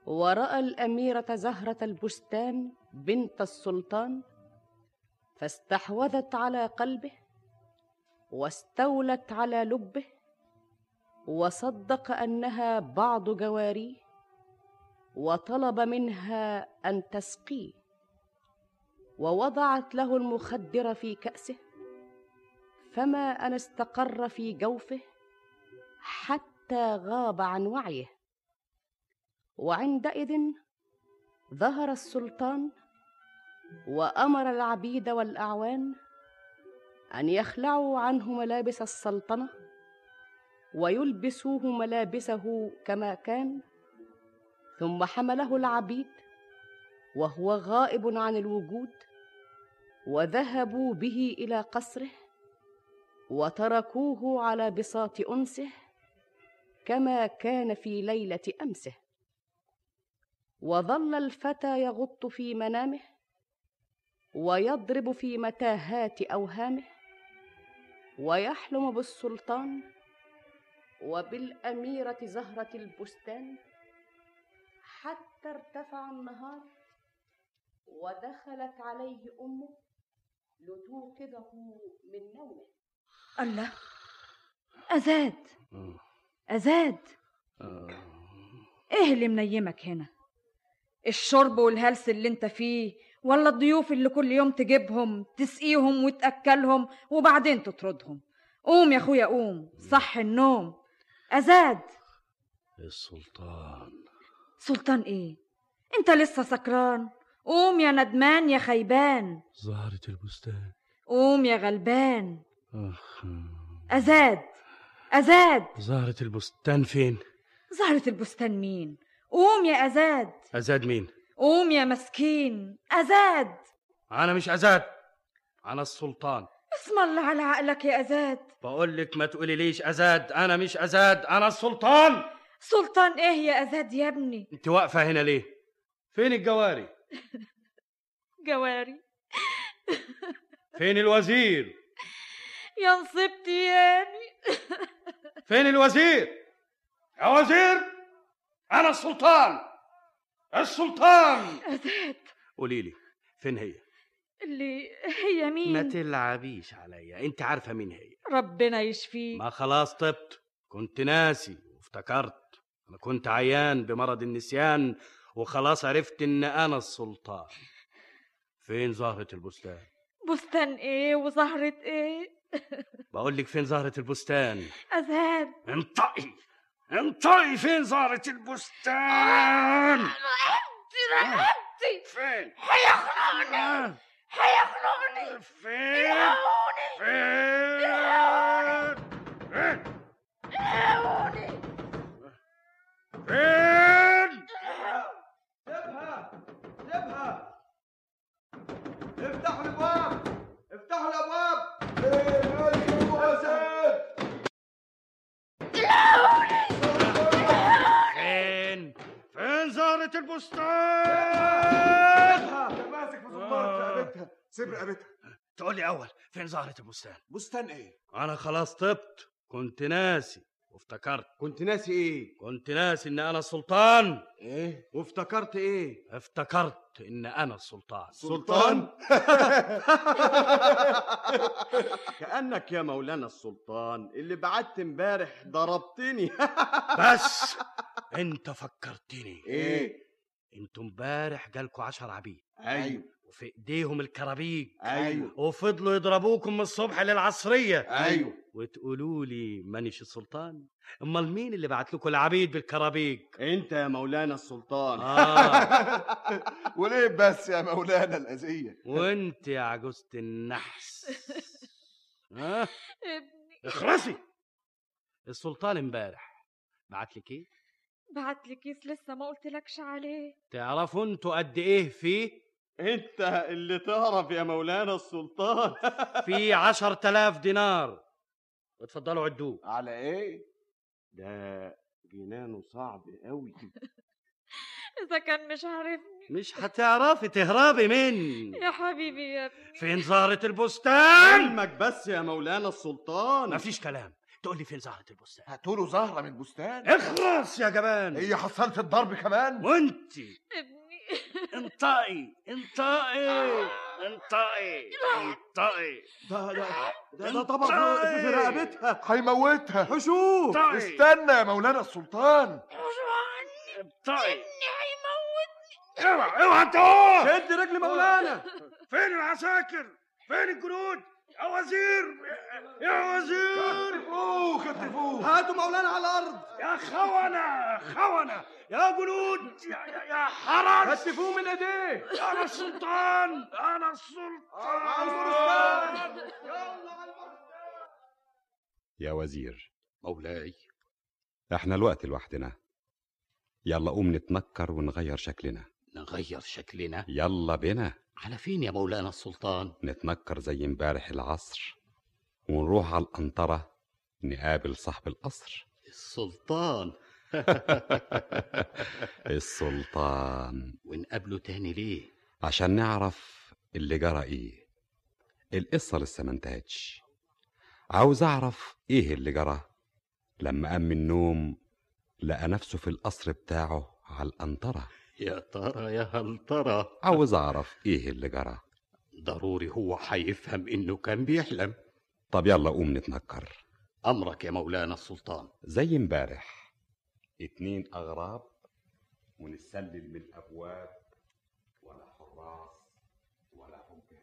S2: وراى الاميره زهره البستان بنت السلطان فاستحوذت على قلبه واستولت على لبه وصدق انها بعض جواريه وطلب منها ان تسقيه ووضعت له المخدر في كاسه فما ان استقر في جوفه حتى غاب عن وعيه وعندئذ ظهر السلطان وامر العبيد والاعوان ان يخلعوا عنه ملابس السلطنه ويلبسوه ملابسه كما كان ثم حمله العبيد وهو غائب عن الوجود وذهبوا به الى قصره وتركوه على بساط انسه كما كان في ليله امسه وظل الفتى يغط في منامه ويضرب في متاهات اوهامه ويحلم بالسلطان وبالأميرة زهرة البستان حتى ارتفع النهار ودخلت عليه أمه لتوقظه من نومه
S25: الله أزاد أزاد إيه اللي منيمك هنا الشرب والهلس اللي انت فيه ولا الضيوف اللي كل يوم تجيبهم تسقيهم وتأكلهم وبعدين تطردهم قوم يا أخويا قوم صح النوم أزاد
S7: السلطان
S25: سلطان إيه انت لسه سكران قوم يا ندمان يا خيبان
S7: زهرة البستان
S25: قوم يا غلبان
S7: آخ
S25: أزاد أزاد
S7: زهرة البستان فين؟
S25: زهرة البستان مين قوم يا أزاد
S7: أزاد مين؟
S25: قوم يا مسكين أزاد
S7: أنا مش أزاد أنا السلطان
S25: اسم الله على عقلك يا أزاد
S7: بقول لك ما تقوليليش أزاد أنا مش أزاد أنا السلطان
S25: سلطان إيه يا أزاد يا ابني
S7: أنت واقفة هنا ليه؟ فين الجواري؟
S25: جواري
S7: فين الوزير؟
S25: يا نصيبتي ياني
S7: فين الوزير؟ يا وزير أنا السلطان السلطان
S25: أزاد
S7: قولي لي فين هي؟
S25: اللي هي مين
S7: ما تلعبيش عليا أنت عارفة مين هي
S25: ربنا يشفيك
S7: ما خلاص طبت كنت ناسي وافتكرت أنا كنت عيان بمرض النسيان وخلاص عرفت إن أنا السلطان فين زهرة البستان؟
S25: بستان إيه وزهرة إيه [LAUGHS]
S7: بقول لك فين زهرة البستان؟
S25: أزاد
S7: انطقي انطقي فين زهرة البستان؟
S6: رقبتي آه. فين؟ هيخنقني هيخنقني فين؟ فين؟
S26: فين؟ سيبها سيبها افتحوا الابواب افتحوا الابواب
S7: فين؟ فين زهرة آه.
S6: البستان؟
S7: ماسك في رقبتها سيب رقبتها آه. تقول لي أول فين زهرة البستان؟
S27: بستان ايه؟
S7: أنا خلاص طبت كنت ناسي وافتكرت كنت ناسي إيه؟ كنت ناسي إن أنا السلطان إيه؟ وافتكرت إيه؟ افتكرت إن أنا السلطان
S3: سلطان؟ كأنك يا مولانا السلطان اللي بعت امبارح ضربتني [LAUGHS]
S7: بس انت فكرتني
S3: إيه؟
S7: انتوا امبارح جالكوا عشر عبيد أيوه.
S3: أيوة.
S7: وفي ايديهم الكرابيج
S3: أيوة.
S7: وفضلوا يضربوكم من الصبح للعصريه
S3: أيوة.
S7: وتقولوا لي مانيش السلطان امال مين اللي بعت لكم العبيد بالكرابيج انت يا مولانا السلطان اه
S3: [LAUGHS]
S28: وليه بس يا مولانا الأذية
S7: وانت يا عجوزه النحس آه. ها
S25: ابني
S7: اخرسي السلطان امبارح بعت لك ايه
S25: بعت لي كيس لسه ما قلتلكش عليه
S7: تعرفوا انتوا قد ايه فيه
S3: انت اللي تعرف يا مولانا السلطان [LAUGHS]
S7: في عشر تلاف دينار اتفضلوا عدوه
S3: على ايه ده جنانه صعب قوي
S25: إذا كان مش عارفني
S7: مش هتعرفي تهربي من
S25: يا حبيبي يا ابني
S7: فين زهرة البستان
S3: علمك بس يا مولانا السلطان
S7: مفيش كلام تقول لي فين زهرة البستان
S28: هاتوله زهرة من البستان
S7: اخرس يا جبان
S28: هي حصلت الضرب كمان
S7: وانت
S25: ابني
S7: انطقي انطقي انطقي انطقي
S28: ده ده
S3: ده, ده طبق في رقبتها
S28: هيموتها
S3: حشوش
S28: استنى يا مولانا السلطان
S7: انطقي
S6: اوعى اوعى تقوم
S3: شد رجل مولانا
S6: فين العساكر؟ فين الجنود؟ يا وزير يا وزير
S3: كتفوه كتفوه هاتوا مولانا على الارض
S6: يا خونة خونة يا جنود يا, يا, يا حرس
S3: كتفوه من ايديه
S6: أنا السلطان أنا السلطان
S7: [LAUGHS]
S9: يا وزير
S29: مولاي
S9: احنا الوقت لوحدنا يلا قوم نتنكر ونغير شكلنا
S30: نغير شكلنا
S9: يلا بينا
S30: على فين يا مولانا السلطان
S9: نتنكر زي امبارح العصر ونروح على القنطرة نقابل
S30: [LAUGHS]
S9: صاحب القصر
S30: السلطان
S9: السلطان
S30: ونقابله تاني ليه
S9: عشان نعرف اللي جرى ايه القصة لسه ما انتهتش عاوز اعرف ايه إيه اللي جرى لما قام من النوم لقى نفسه في القصر بتاعه على القنطرة
S13: يا ترى يا هل ترى
S9: عاوز أعرف إيه اللي جرى
S13: ضروري هو هيفهم إنه كان بيحلم
S9: طب يلا قوم نتنكر
S13: أمرك يا مولانا السلطان
S9: زي امبارح اتنين أغراب ونسلل من الأبواب ولا حراس ولا حجاج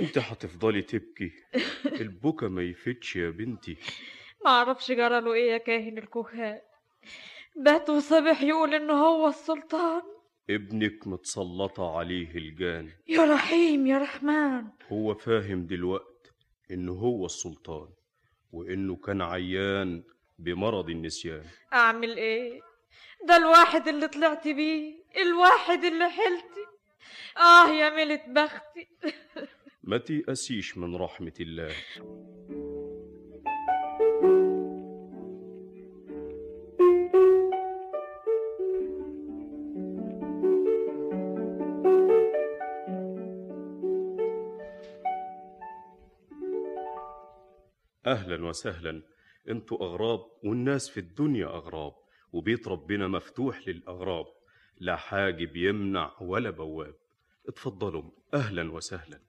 S11: انت هتفضلي تبكي البكا ما يفتش يا بنتي
S4: معرفش جراله ايه يا كاهن الكهان بات وصبح يقول ان هو السلطان
S11: ابنك متسلطة عليه الجان
S4: يا رحيم يا رحمن
S11: هو فاهم دلوقت انه هو السلطان وانه كان عيان بمرض النسيان
S4: اعمل ايه ده الواحد اللي طلعت بيه الواحد اللي حلتي اه يا ملت بختي
S11: ما تيأسيش من رحمة الله أهلا وسهلا انتوا أغراب والناس في الدنيا أغراب وبيت ربنا مفتوح للأغراب لا حاجب يمنع ولا بواب اتفضلوا أهلا وسهلا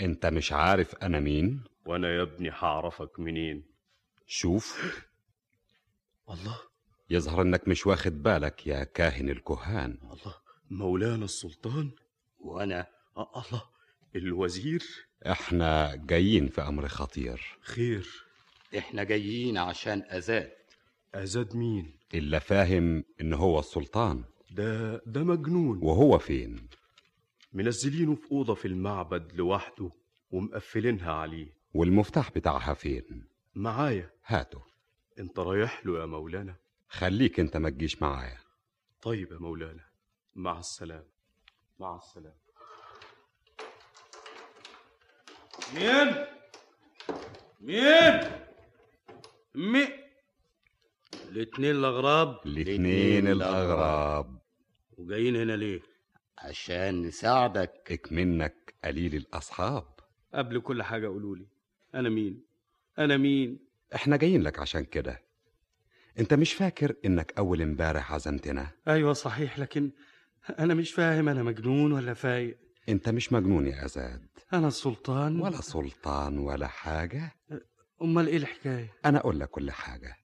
S9: أنت مش عارف أنا مين
S11: وأنا يا ابني هعرفك منين
S9: شوف
S11: الله
S9: يظهر إنك مش واخد بالك يا كاهن الكهان
S11: الله مولانا السلطان وأنا آه، الله الوزير
S9: إحنا جايين في أمر خطير
S11: خير
S13: احنا جايين عشان أزاد
S11: أزاد مين
S9: إلا فاهم إن هو السلطان
S11: ده آه، ده مجنون
S9: وهو فين
S11: منزلينه في أوضة في المعبد لوحده ومقفلينها عليه
S9: والمفتاح بتاعها فين
S11: معايا
S9: هاته
S11: انت رايح له يا مولانا
S9: خليك انت ما تجيش معايا
S11: طيب يا مولانا مع السلامة مع السلامة
S15: مين مين مي
S7: الاتنين الأغراب
S9: الاتنين الأغراب
S7: وجايين هنا ليه؟
S13: عشان نساعدك
S9: اكمنك قليل الأصحاب
S7: قبل كل حاجة قولوا لي أنا مين؟ أنا مين؟
S9: احنا جايين لك عشان كده انت مش فاكر انك اول امبارح عزمتنا
S7: أيوة صحيح لكن أنا مش فاهم أنا مجنون ولا فايق
S9: انت مش مجنون يا ازاد
S7: أنا السلطان
S9: ولا سلطان ولا حاجة
S7: أمال إيه الحكاية؟
S9: انا اقول لك كل حاجة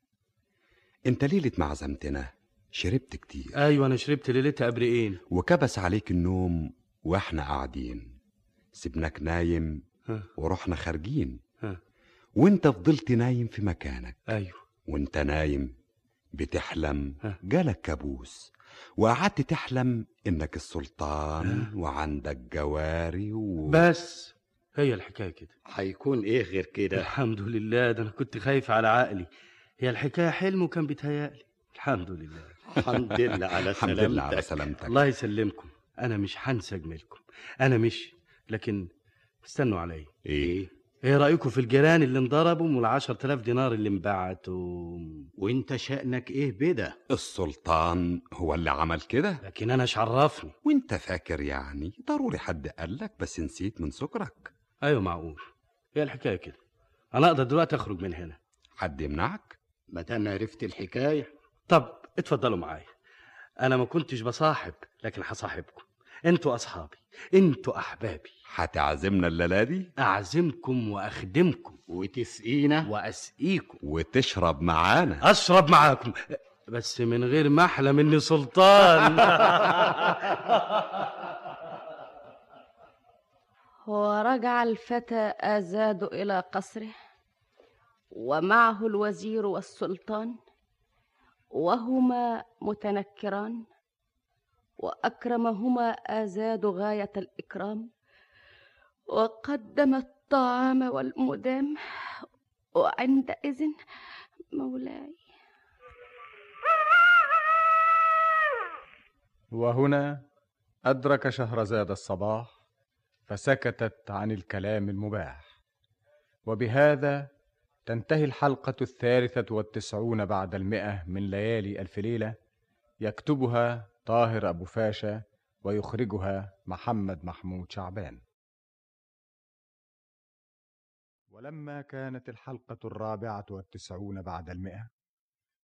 S9: انت ليلة ما عزمتنا شربت كتير
S7: أيوة أنا شربت إيه؟ ليلتها قبرقين
S9: وكبس عليك النوم واحنا قاعدين سبناك نايم
S7: ها.
S9: ورحنا خارجين
S7: ها.
S9: وانت فضلت نايم في مكانك
S7: أيوة
S9: وانت نايم بتحلم
S7: ها.
S9: جالك كابوس وقعدت تحلم انك السلطان وعندك جواري و...
S7: بس هي الحكاية كده
S13: هيكون ايه غير كده
S7: الحمد لله ده أنا كنت خايف على عقلي هي الحكاية حلم وكان بيتهيألي الحمد لله
S13: الحمد لله على
S9: الحمد لله على
S13: سلامتك
S9: سلامتك
S7: الله يسلمكم أنا مش هنسى جميلكم أنا مش لكن استنوا عليا
S9: ايه
S7: ايه رأيكم في الجيران اللي انضربوا والعشر تلاف دينار اللي انبعتوا
S13: وانت شأنك ايه بده
S9: السلطان هو اللي عمل كده
S7: لكن انا ايش عرفني
S9: وانت فاكر يعني ضروري حد قالك بس نسيت من سكرك
S7: ايوه معقول ايه الحكايه كده انا اقدر دلوقتي اخرج من هنا
S9: حد يمنعك
S13: ما دام عرفت الحكاية
S7: طب اتفضلوا معايا انا ما كنتش بصاحب لكن هصاحبكم انتوا اصحابي انتوا احبابي
S9: هتعزمنا الليله دي
S7: اعزمكم واخدمكم
S13: وتسقينا
S7: واسقيكم
S9: وتشرب معانا
S7: اشرب معاكم بس من غير ما احلم اني سلطان [LAUGHS]
S2: ورجع الفتى آزاد إلى قصره ومعه الوزير والسلطان وهما متنكران وأكرمهما آزاد غاية الإكرام وقدم الطعام والمدام وعندئذ مولاي
S1: وهنا أدرك شهرزاد الصباح فسكتت عن الكلام المباح وبهذا تنتهي الحلقة الثالثة والتسعون بعد المئة من ليالي ألف ليلة يكتبها طاهر أبو فاشا ويخرجها محمد محمود شعبان ولما كانت الحلقة الرابعة والتسعون بعد المئة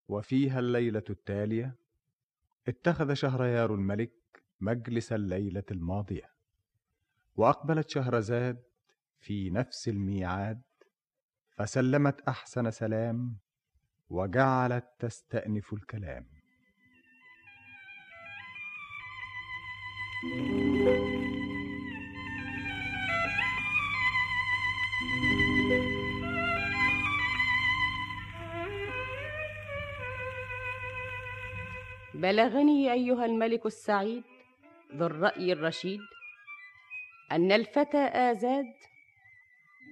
S1: وفيها الليلة التالية اتخذ شهريار الملك مجلس الليلة الماضية وأقبلت شهرزاد في نفس الميعاد فسلمت أحسن سلام وجعلت تستأنف الكلام
S6: 음.
S2: بلغني ايها الملك السعيد ذو الراي الرشيد ان الفتى ازاد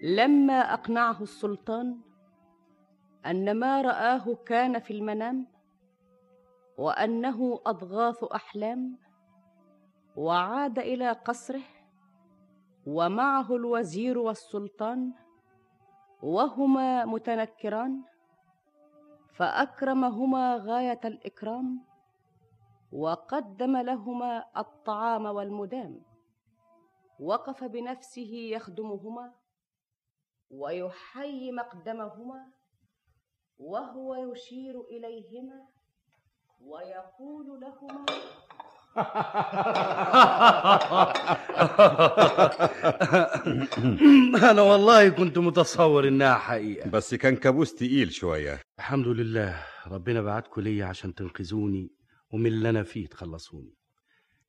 S2: لما اقنعه السلطان ان ما راه كان في المنام وانه اضغاث احلام وعاد الى قصره ومعه الوزير والسلطان وهما متنكران فاكرمهما غايه الاكرام وقدم لهما الطعام والمدام وقف بنفسه يخدمهما ويحيي مقدمهما وهو يشير اليهما ويقول لهما
S7: [LAUGHS] أنا والله كنت متصور إنها حقيقة
S9: بس كان كابوس تقيل شوية
S7: الحمد لله ربنا بعتكم ليا عشان تنقذوني ومن اللي أنا فيه تخلصوني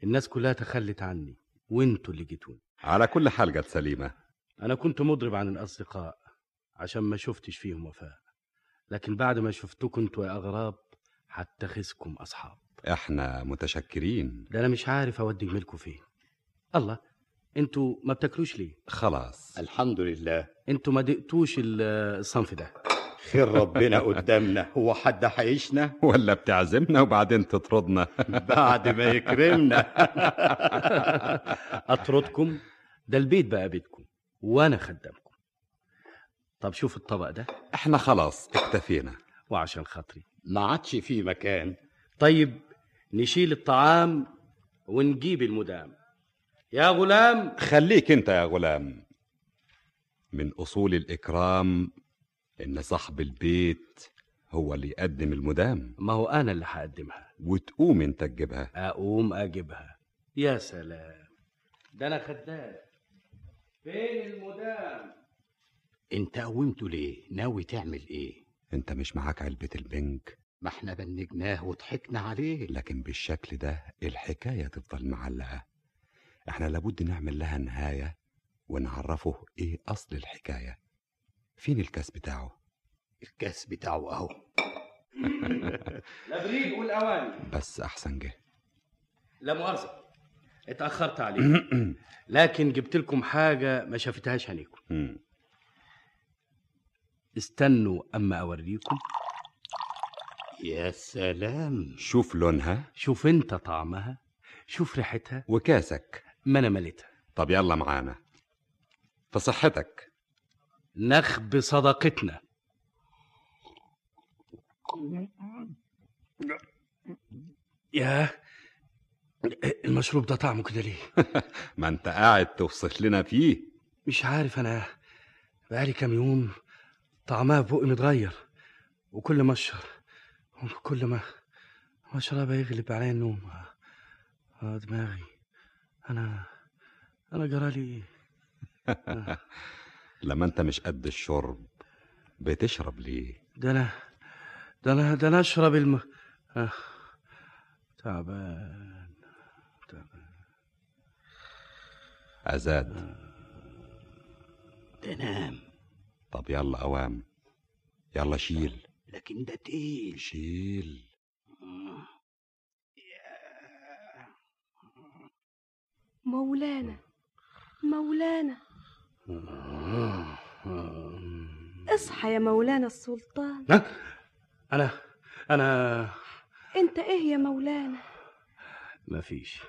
S7: الناس كلها تخلت عني وانتوا اللي جيتوني
S9: على كل حال جت سليمة
S7: أنا كنت مضرب عن الأصدقاء عشان ما شفتش فيهم وفاء لكن بعد ما شفتكم انتوا يا أغراب هتخذكم أصحاب
S9: احنا متشكرين
S7: ده أنا مش عارف أودي جميلكم فين الله انتوا ما بتاكلوش ليه؟
S9: خلاص
S6: الحمد لله
S7: انتوا ما دقتوش ال- الصنف ده
S6: خير ربنا
S7: [LAUGHS]
S6: قدامنا هو حد هيعيشنا
S9: ولا بتعزمنا وبعدين تطردنا
S6: [LAUGHS] بعد ما يكرمنا
S7: اطردكم ده البيت بقى بيتكم وانا خدامكم طب شوف الطبق ده
S9: احنا خلاص اكتفينا
S7: وعشان خاطري
S6: ما عادش في مكان
S7: طيب نشيل الطعام ونجيب المدام يا غلام
S9: خليك انت يا غلام من اصول الاكرام ان صاحب البيت هو اللي يقدم المدام
S7: ما هو انا اللي هقدمها
S9: وتقوم انت تجيبها
S7: اقوم اجيبها يا سلام ده انا خدام فين المدام
S6: انت قومته ليه ناوي تعمل ايه
S9: انت مش معاك علبة البنك
S6: ما احنا بنجناه وضحكنا عليه
S9: لكن بالشكل ده الحكاية تفضل معلقة احنا لابد نعمل لها نهاية ونعرفه ايه اصل الحكاية فين الكاس بتاعه
S6: الكاس بتاعه اهو
S7: لابريل والاواني
S9: [LAUGHS] بس احسن جه
S7: لا مؤاخذه اتاخرت عليك [CLEARS THROAT] لكن جبت لكم حاجه ما شافتهاش عينيكم استنوا اما اوريكم
S6: يا سلام
S9: شوف لونها
S7: شوف انت طعمها شوف ريحتها
S9: وكاسك
S7: ما انا مليتها
S9: طب يلا معانا [LAUGHS] في صحتك
S7: نخب صداقتنا يا المشروب ده طعمه كده ليه
S9: ما انت قاعد توصف لنا فيه
S7: مش عارف انا بقالي كام يوم طعمها في بقي متغير وكل ما اشرب كل ما ما اشربها يغلب عليا النوم آه دماغي انا انا جرالي
S9: [LAUGHS] لما انت مش قد الشرب بتشرب ليه
S7: ده انا ده انا ده انا اشرب الم آه. تعبان
S9: ازاد
S3: آه،
S6: تنام
S9: طب يلا اوام يلا شيل
S6: لكن ده تقيل
S9: شيل
S7: آه،
S19: مولانا مولانا
S7: آه.
S19: اصحى يا مولانا السلطان
S7: انا انا
S19: انت ايه يا مولانا
S7: مفيش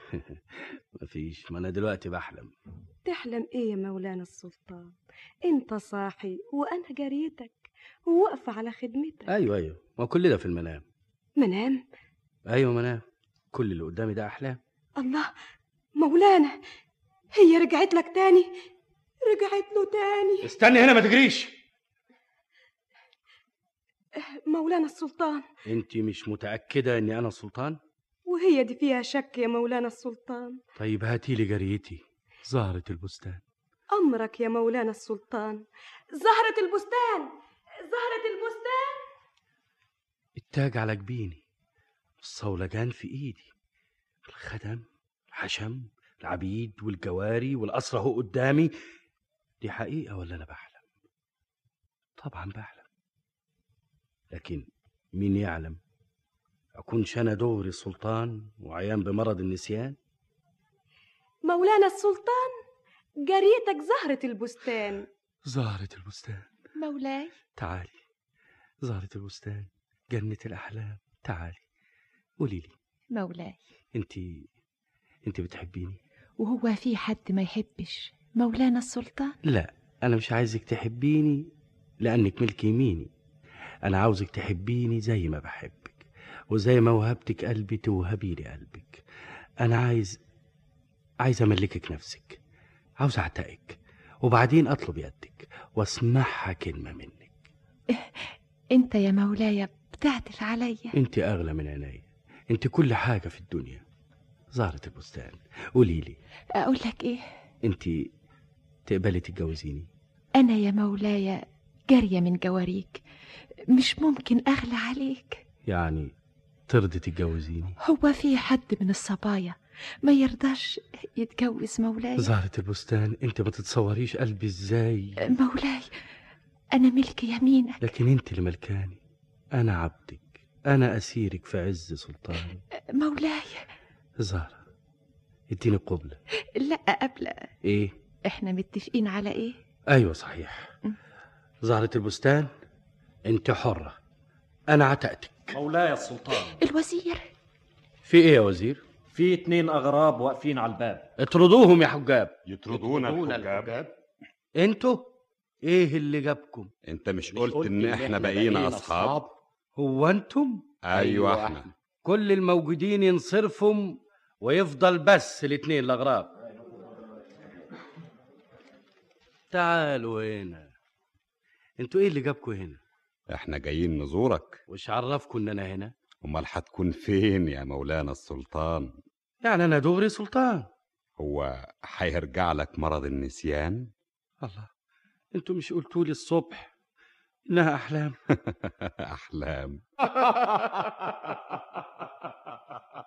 S7: مفيش [LAUGHS] ما انا دلوقتي بحلم
S19: تحلم ايه يا مولانا السلطان انت صاحي وانا جاريتك وواقفه على خدمتك
S7: ايوه ايوه ما كل ده في المنام
S19: منام
S7: ايوه منام كل اللي قدامي ده احلام
S19: الله مولانا هي رجعت لك تاني رجعت له تاني
S31: استني هنا ما تجريش
S19: اه، مولانا السلطان
S7: انت مش متاكده اني انا السلطان
S19: وهي دي فيها شك يا مولانا السلطان
S7: طيب هاتي لي جريتي زهره البستان
S19: أمرك يا مولانا السلطان
S25: زهرة البستان زهرة البستان
S7: التاج على جبيني الصولجان في ايدي الخدم الحشم العبيد والجواري والاسرى هو قدامي دي حقيقه ولا انا بحلم طبعا بحلم لكن مين يعلم اكونش انا دغري سلطان وعيان بمرض النسيان
S19: مولانا السلطان جاريتك زهرة البستان
S7: زهره البستان
S19: مولاي
S7: تعالي زهره البستان جنه الاحلام تعالي قولي لي
S24: مولاي
S7: انت انت بتحبيني
S24: وهو في حد ما يحبش مولانا السلطان
S7: لا انا مش عايزك تحبيني لانك ملك يميني انا عاوزك تحبيني زي ما بحبك وزي ما وهبتك قلبي توهبي لي قلبك انا عايز عايز املكك نفسك عاوز اعتقك وبعدين اطلب يدك واسمعها كلمه منك
S24: انت إيه، يا مولاي بتعطف عليا
S7: انت اغلى من عينيا انت كل حاجه في الدنيا زهره البستان قولي لي
S24: اقول لك ايه
S7: انت تقبلي تتجوزيني
S24: انا يا مولاي جاريه من جواريك مش ممكن اغلى عليك
S7: يعني ترضي تتجوزيني
S24: هو في حد من الصبايا ما يرضاش يتجوز مولاي
S7: زهرة البستان انت ما تتصوريش قلبي ازاي
S24: إيه. مولاي انا ملك يمينك
S7: لكن انت اللي ملكاني انا عبدك انا اسيرك في عز سلطاني
S24: مولاي
S7: زهرة اديني قبلة
S24: لا قبل
S7: ايه
S24: احنا متفقين على ايه
S7: ايوه صحيح زهرة البستان انت حرة انا عتقتك
S21: مولاي السلطان
S24: الوزير
S7: في ايه يا وزير
S21: في اتنين اغراب واقفين على الباب
S7: اطردوهم يا حجاب
S9: يطردونا الحجاب
S7: انتوا ايه اللي جابكم
S9: انت مش قلت ان احنا بقينا اصحاب
S7: هو انتم
S21: أيوة.
S9: ايوه احنا
S7: كل الموجودين ينصرفهم ويفضل بس الاتنين الاغراب تعالوا هنا انتوا ايه اللي جابكم هنا
S9: احنا جايين نزورك
S7: وش عرفكم ان انا هنا
S9: امال هتكون فين يا مولانا السلطان
S7: يعني انا دغري سلطان
S9: هو هيرجع لك مرض النسيان [LAUGHS]
S7: الله انتوا مش قلتوا لي الصبح انها [LAUGHS] احلام
S9: احلام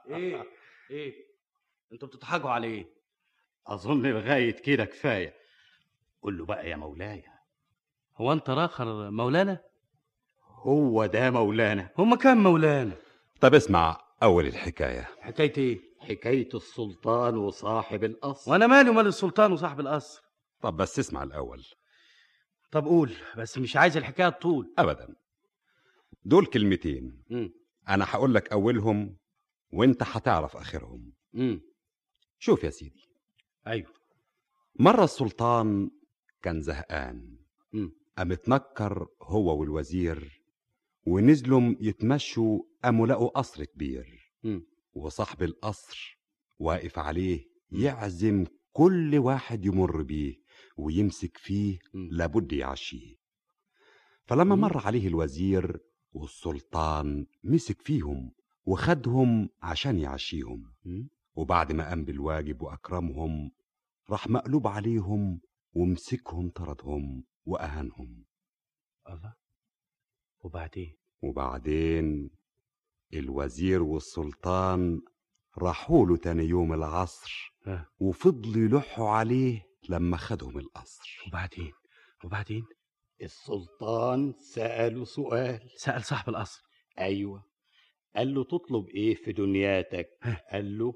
S21: ايه ايه [LAUGHS]
S7: إيه؟
S21: انتوا بتضحكوا على ايه
S3: أظن لغاية كده كفاية قول له بقى يا مولاي
S7: هو انت راخر مولانا
S3: هو ده مولانا
S7: هما كام مولانا
S9: طب اسمع اول الحكايه
S7: حكايه ايه
S3: حكاية السلطان وصاحب القصر
S7: وانا مالي ومال السلطان وصاحب القصر
S9: طب بس اسمع الاول
S7: طب قول بس مش عايز الحكايه طول
S9: ابدا دول كلمتين
S7: مم.
S9: انا هقول لك اولهم وانت هتعرف اخرهم
S7: امم
S9: شوف يا سيدي
S7: ايوه
S9: مره السلطان كان زهقان
S7: مم.
S9: قام اتنكر هو والوزير ونزلوا يتمشوا قاموا لقوا قصر كبير
S7: مم.
S9: وصاحب القصر واقف عليه يعزم كل واحد يمر بيه ويمسك فيه لابد يعشيه فلما مر عليه الوزير والسلطان مسك فيهم وخدهم عشان يعشيهم
S6: 음.
S9: وبعد ما قام بالواجب وأكرمهم راح مقلوب عليهم ومسكهم طردهم وأهانهم
S7: الله وبعدين
S9: وبعدين الوزير والسلطان راحوا له تاني يوم العصر
S7: ها
S9: وفضلوا يلحوا عليه لما خدهم القصر
S7: وبعدين وبعدين
S3: السلطان سأله سؤال
S7: سأل صاحب القصر
S3: أيوة قال له تطلب إيه في دنياتك قال له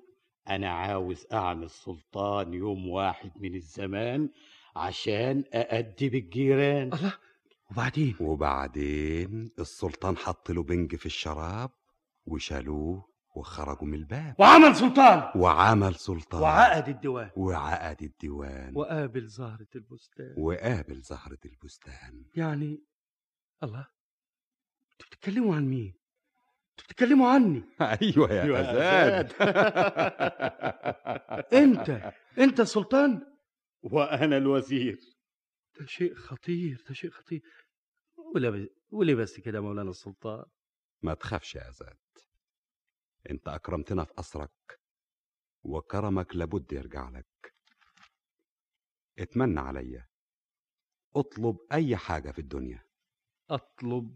S3: أنا عاوز أعمل سلطان يوم واحد من الزمان عشان أأدب الجيران
S7: الله وبعدين
S9: وبعدين السلطان حط له بنج في الشراب وشالوه وخرجوا من الباب
S7: وعمل سلطان
S9: وعمل
S3: طيب.
S9: سلطان
S7: وعقد الديوان
S9: وعقد الديوان
S7: وقابل زهرة البستان
S9: وقابل زهرة البستان
S7: يعني الله انتوا بتتكلموا عن مين انتوا بتتكلموا عني
S3: أيوه
S9: ايوه يا
S7: أيوة يا
S9: أزاد
S7: انت انت سلطان
S3: وأنا الوزير
S7: ده شيء خطير ده شيء خطير ولا بس ولا بس كده مولانا السلطان
S9: ما تخافش يا زاد انت اكرمتنا في اسرك وكرمك لابد يرجع لك اتمنى عليا اطلب اي حاجه في الدنيا
S7: اطلب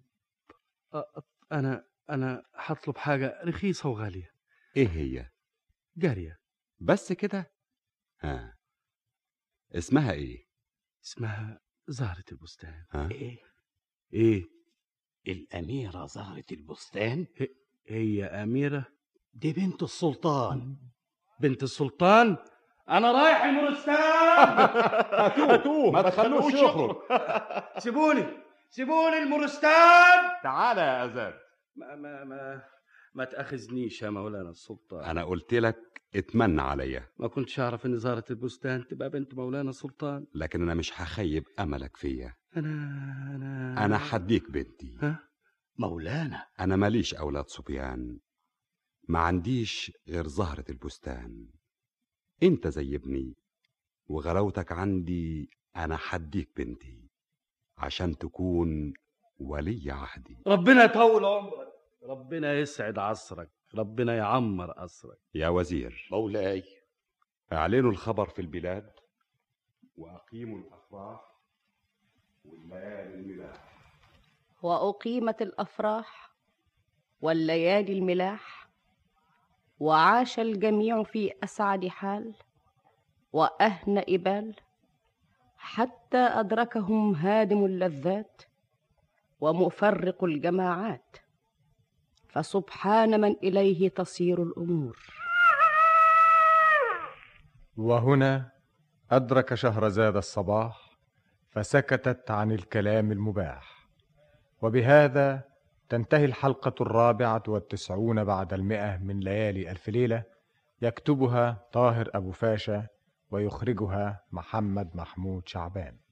S7: أ- انا انا هطلب حاجه رخيصه وغاليه
S9: ايه هي
S7: جاريه
S9: بس كده ها اسمها ايه
S7: اسمها زهره البستان
S9: ها إيه؟
S7: ايه ايه
S3: الأميرة زهرة البستان
S7: هي أميرة
S3: دي بنت السلطان
S7: بنت السلطان انا رايح [LAUGHS] المورستان
S3: هاتوه ما تخلوش يخرج
S7: سيبوني سيبوني المورستان
S32: تعالى يا أزاد
S7: ما ما ما ما تاخذنيش يا مولانا السلطان
S9: انا قلت لك اتمنى عليا
S7: ما كنتش اعرف ان زهره البستان تبقى بنت مولانا السلطان
S9: لكن انا مش هخيب املك فيا
S7: انا انا
S9: انا حديك بنتي
S7: آه. ها؟
S9: مولانا انا ماليش اولاد صبيان ما عنديش غير زهرة البستان انت زي ابني وغلاوتك عندي انا حديك بنتي عشان تكون ولي عهدي
S7: ربنا يطول عمرك ربنا يسعد عصرك ربنا يعمر قصرك
S9: يا وزير
S3: مولاي
S9: اعلنوا الخبر في البلاد
S32: وأقيموا الأفراح والليالي الملاح
S2: واقيمت الافراح والليالي الملاح وعاش الجميع في اسعد حال واهنا بال حتى ادركهم هادم اللذات ومفرق الجماعات فسبحان من اليه تصير الامور
S1: وهنا أدرك شهرزاد الصباح فسكتت عن الكلام المباح وبهذا تنتهي الحلقة الرابعة والتسعون بعد المئة من ليالي ألف ليلة يكتبها طاهر أبو فاشا ويخرجها محمد محمود شعبان